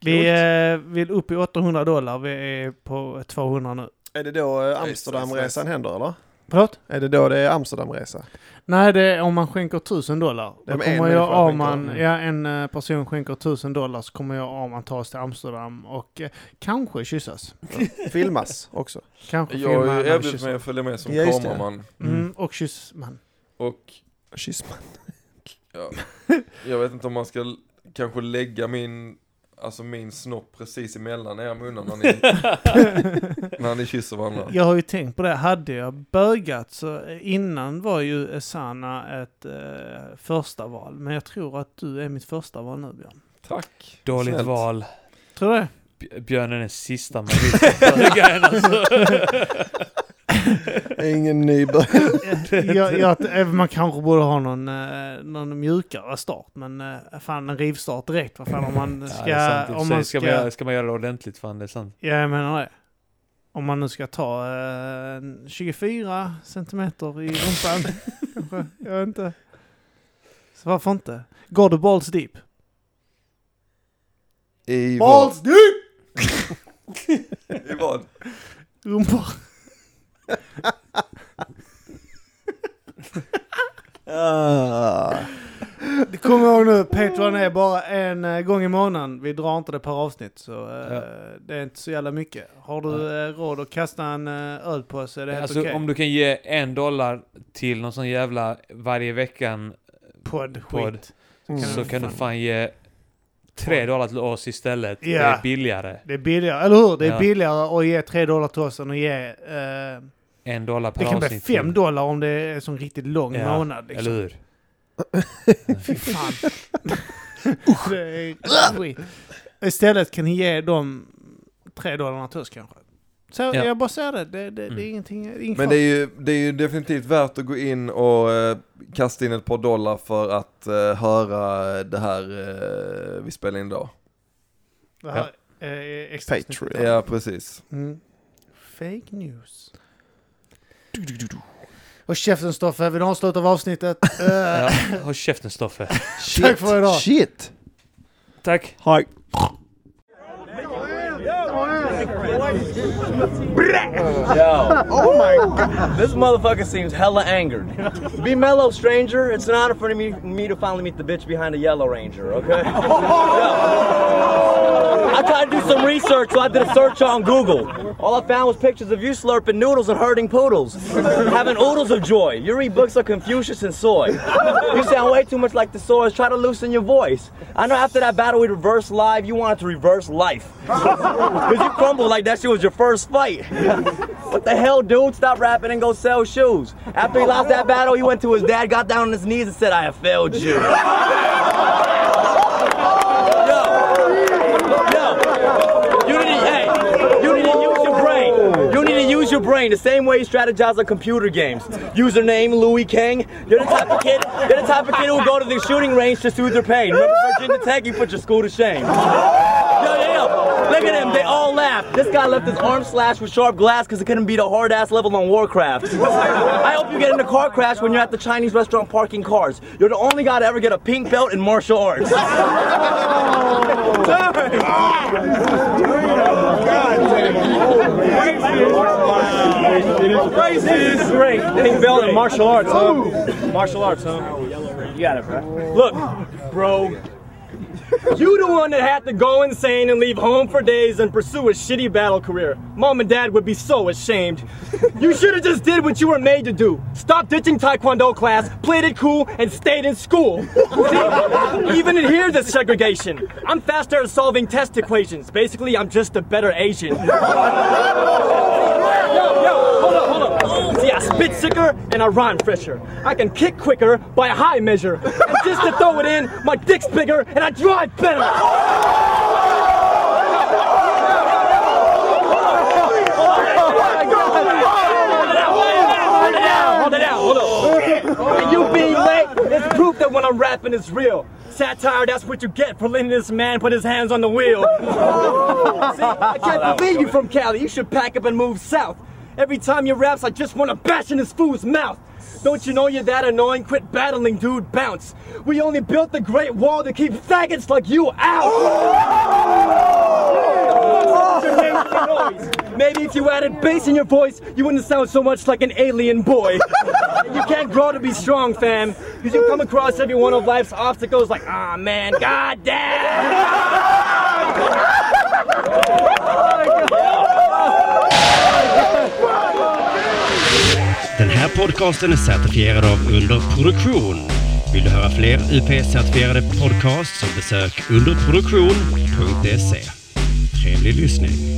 Vi eh, vill upp i 800 dollar, vi är på 200 nu. Är det då eh, Nice, nice, Amsterdamresan händer eller? Förlåt? Är det då det är Amsterdamresa? Nej, det är om man skänker 1000 dollar. Då Ja, men en kommer jag människa Arman, skänker. ja en eh, person skänker 1000 dollar så kommer jag Arman ta oss till Amsterdam och eh, kanske kyssas. Filmas också. Kanske Jag filma har ju när vi erbjudit kyssar. mig att följa med som Ja, just det. kameraman. Mm, och kyssman. Och Kyss man. jag vet inte om man ska l- kanske lägga min, alltså min snopp precis emellan era munnar när ni, när ni kysser varandra. Jag har ju tänkt på det, hade jag bögat så eh, innan var ju eh, Sanna ett eh, första val. men jag tror att du är mitt första val nu Björn. Tack. dåligt Snällt. val. Tror (laughs) du det? Bj- Björn är den sista (laughs) man vill böga än, (laughs) alltså. Ingen nybörjare. jag, jag, även eh, man kanske borde ha någon, eh, någon mjukare start, men eh, fan en rivstart direkt. Vad fan om man Ja, ska... det är sant i om och för sig. man ska, ska, man göra, ska man göra det ordentligt fan, det är sant. Ja, jag menar det. Om man nu ska ta eh, en 24 centimeter i (laughs) rumpan. kanske. jag vet inte. Så varför inte? Går du balls deep? I vad? (laughs) I vad? Rumpor? Ah. Kom ihåg nu, Patreon är bara en eh, gång i månaden. Vi drar inte det per avsnitt, så eh, Ja. det är inte så jävla mycket. Har du eh, råd att kasta en eh, öl på oss är det helt Alltså okej. om du kan ge en dollar till någon sån jävla varje veckan Podd, Podd. skit. Mm. så kan du fan ge tre dollar till oss istället. Det Ja. är billigare. Det är billigare, eller hur? Det är Ja. billigare att ge 3 dollar till oss än att ge... Eh, En dollar per det kan bli avsnitt. 5 dollar om det är en sån riktigt lång Ja, månad. Liksom. Eller hur? Fy (laughs) fan. det är skit. Istället kan ni ge dem 3 dollar till oss kanske. Så Ja. jag bara säger det, det, det, det Mm. är ingenting... inget Men fart. det är, ju, det är ju definitivt värt att gå in och eh, kasta in ett par dollar för att eh, höra det här eh, vi spelar in idag. Det här är extra snyggt. Patreon. Ja, precis. Mm. Fake news. Och käften Stoffe, vill du ha en slut av avsnittet? Eh, (laughs) Ja. Håll käften Stoffe. Shit. Tack för idag. Shit. Tack. Hi. Oh my god. This motherfucker seems hella angered. Be mellow, stranger. It's an honor for me, me to finally meet the bitch behind the Yellow Ranger, okay? Yo. I tried to do some research, so I did a search on Google. All I found was pictures of you slurping noodles and herding poodles. Having oodles of joy. You read books of Confucius and soy. You sound way too much like the soys. Try to loosen your voice. I know after that battle we reversed live, you wanted to reverse life. Because you crumbled like that shit was your first fight. (laughs) what the hell, dude? Stop rapping and go sell shoes. After he lost that battle, he went to his dad, got down on his knees, and said, I have failed you. Yo. Yo. You need to, hey, you need to use your brain. You need to use your brain. brain the same way you strategize on computer games. Username Louis Kang. You're the type of kid. You're the type of kid who will go to the shooting range to soothe their pain. Remember Virginia Tech? You put your school to shame. Yo, yo, yo. Look at them, they all laugh. This guy left his arm slashed with sharp glass because it couldn't beat a hard ass level on Warcraft. I hope you get in a car crash when you're at the Chinese restaurant parking cars. You're the only guy to ever get a pink belt in martial (laughs) arts. Racist! Great. Pink belt in martial arts, huh? Martial arts, huh? You got it, bro. Look, bro. You the one that had to go insane and leave home for days and pursue a shitty battle career. Mom and dad would be so ashamed. You should have just did what you were made to do. Stop ditching taekwondo class, played it cool, and stayed in school. See, even in here, there's segregation. I'm faster at solving test equations. Basically, I'm just a better Asian. yo, yo, hold up, hold up. See, I spit sicker and I rhyme fresher. I can kick quicker by a high measure. And just to throw it in, my dick's bigger and I drive better. Hold it down, hold it down, hold up. And You being late is proof that when I'm rapping, it's real. Satire, that's what you get for letting this man put his hands on the wheel. See, I can't believe you from Cali. You should pack up and move south. Every time you raps, I just want to bash in this fool's mouth. Don't you know you're that annoying? Quit battling, dude. Bounce. We only built the Great Wall to keep faggots like you out. (laughs) Maybe if you added bass in your voice, you wouldn't sound so much like an alien boy. (laughs) you can't grow to be strong, fam, because you come across every one of life's obstacles like, ah, man, goddamn. Den här podcasten är certifierad av Underproduktion. Vill du höra fler UP-certifierade podcasts så besök underproduktion.se. E. Trevlig lyssning!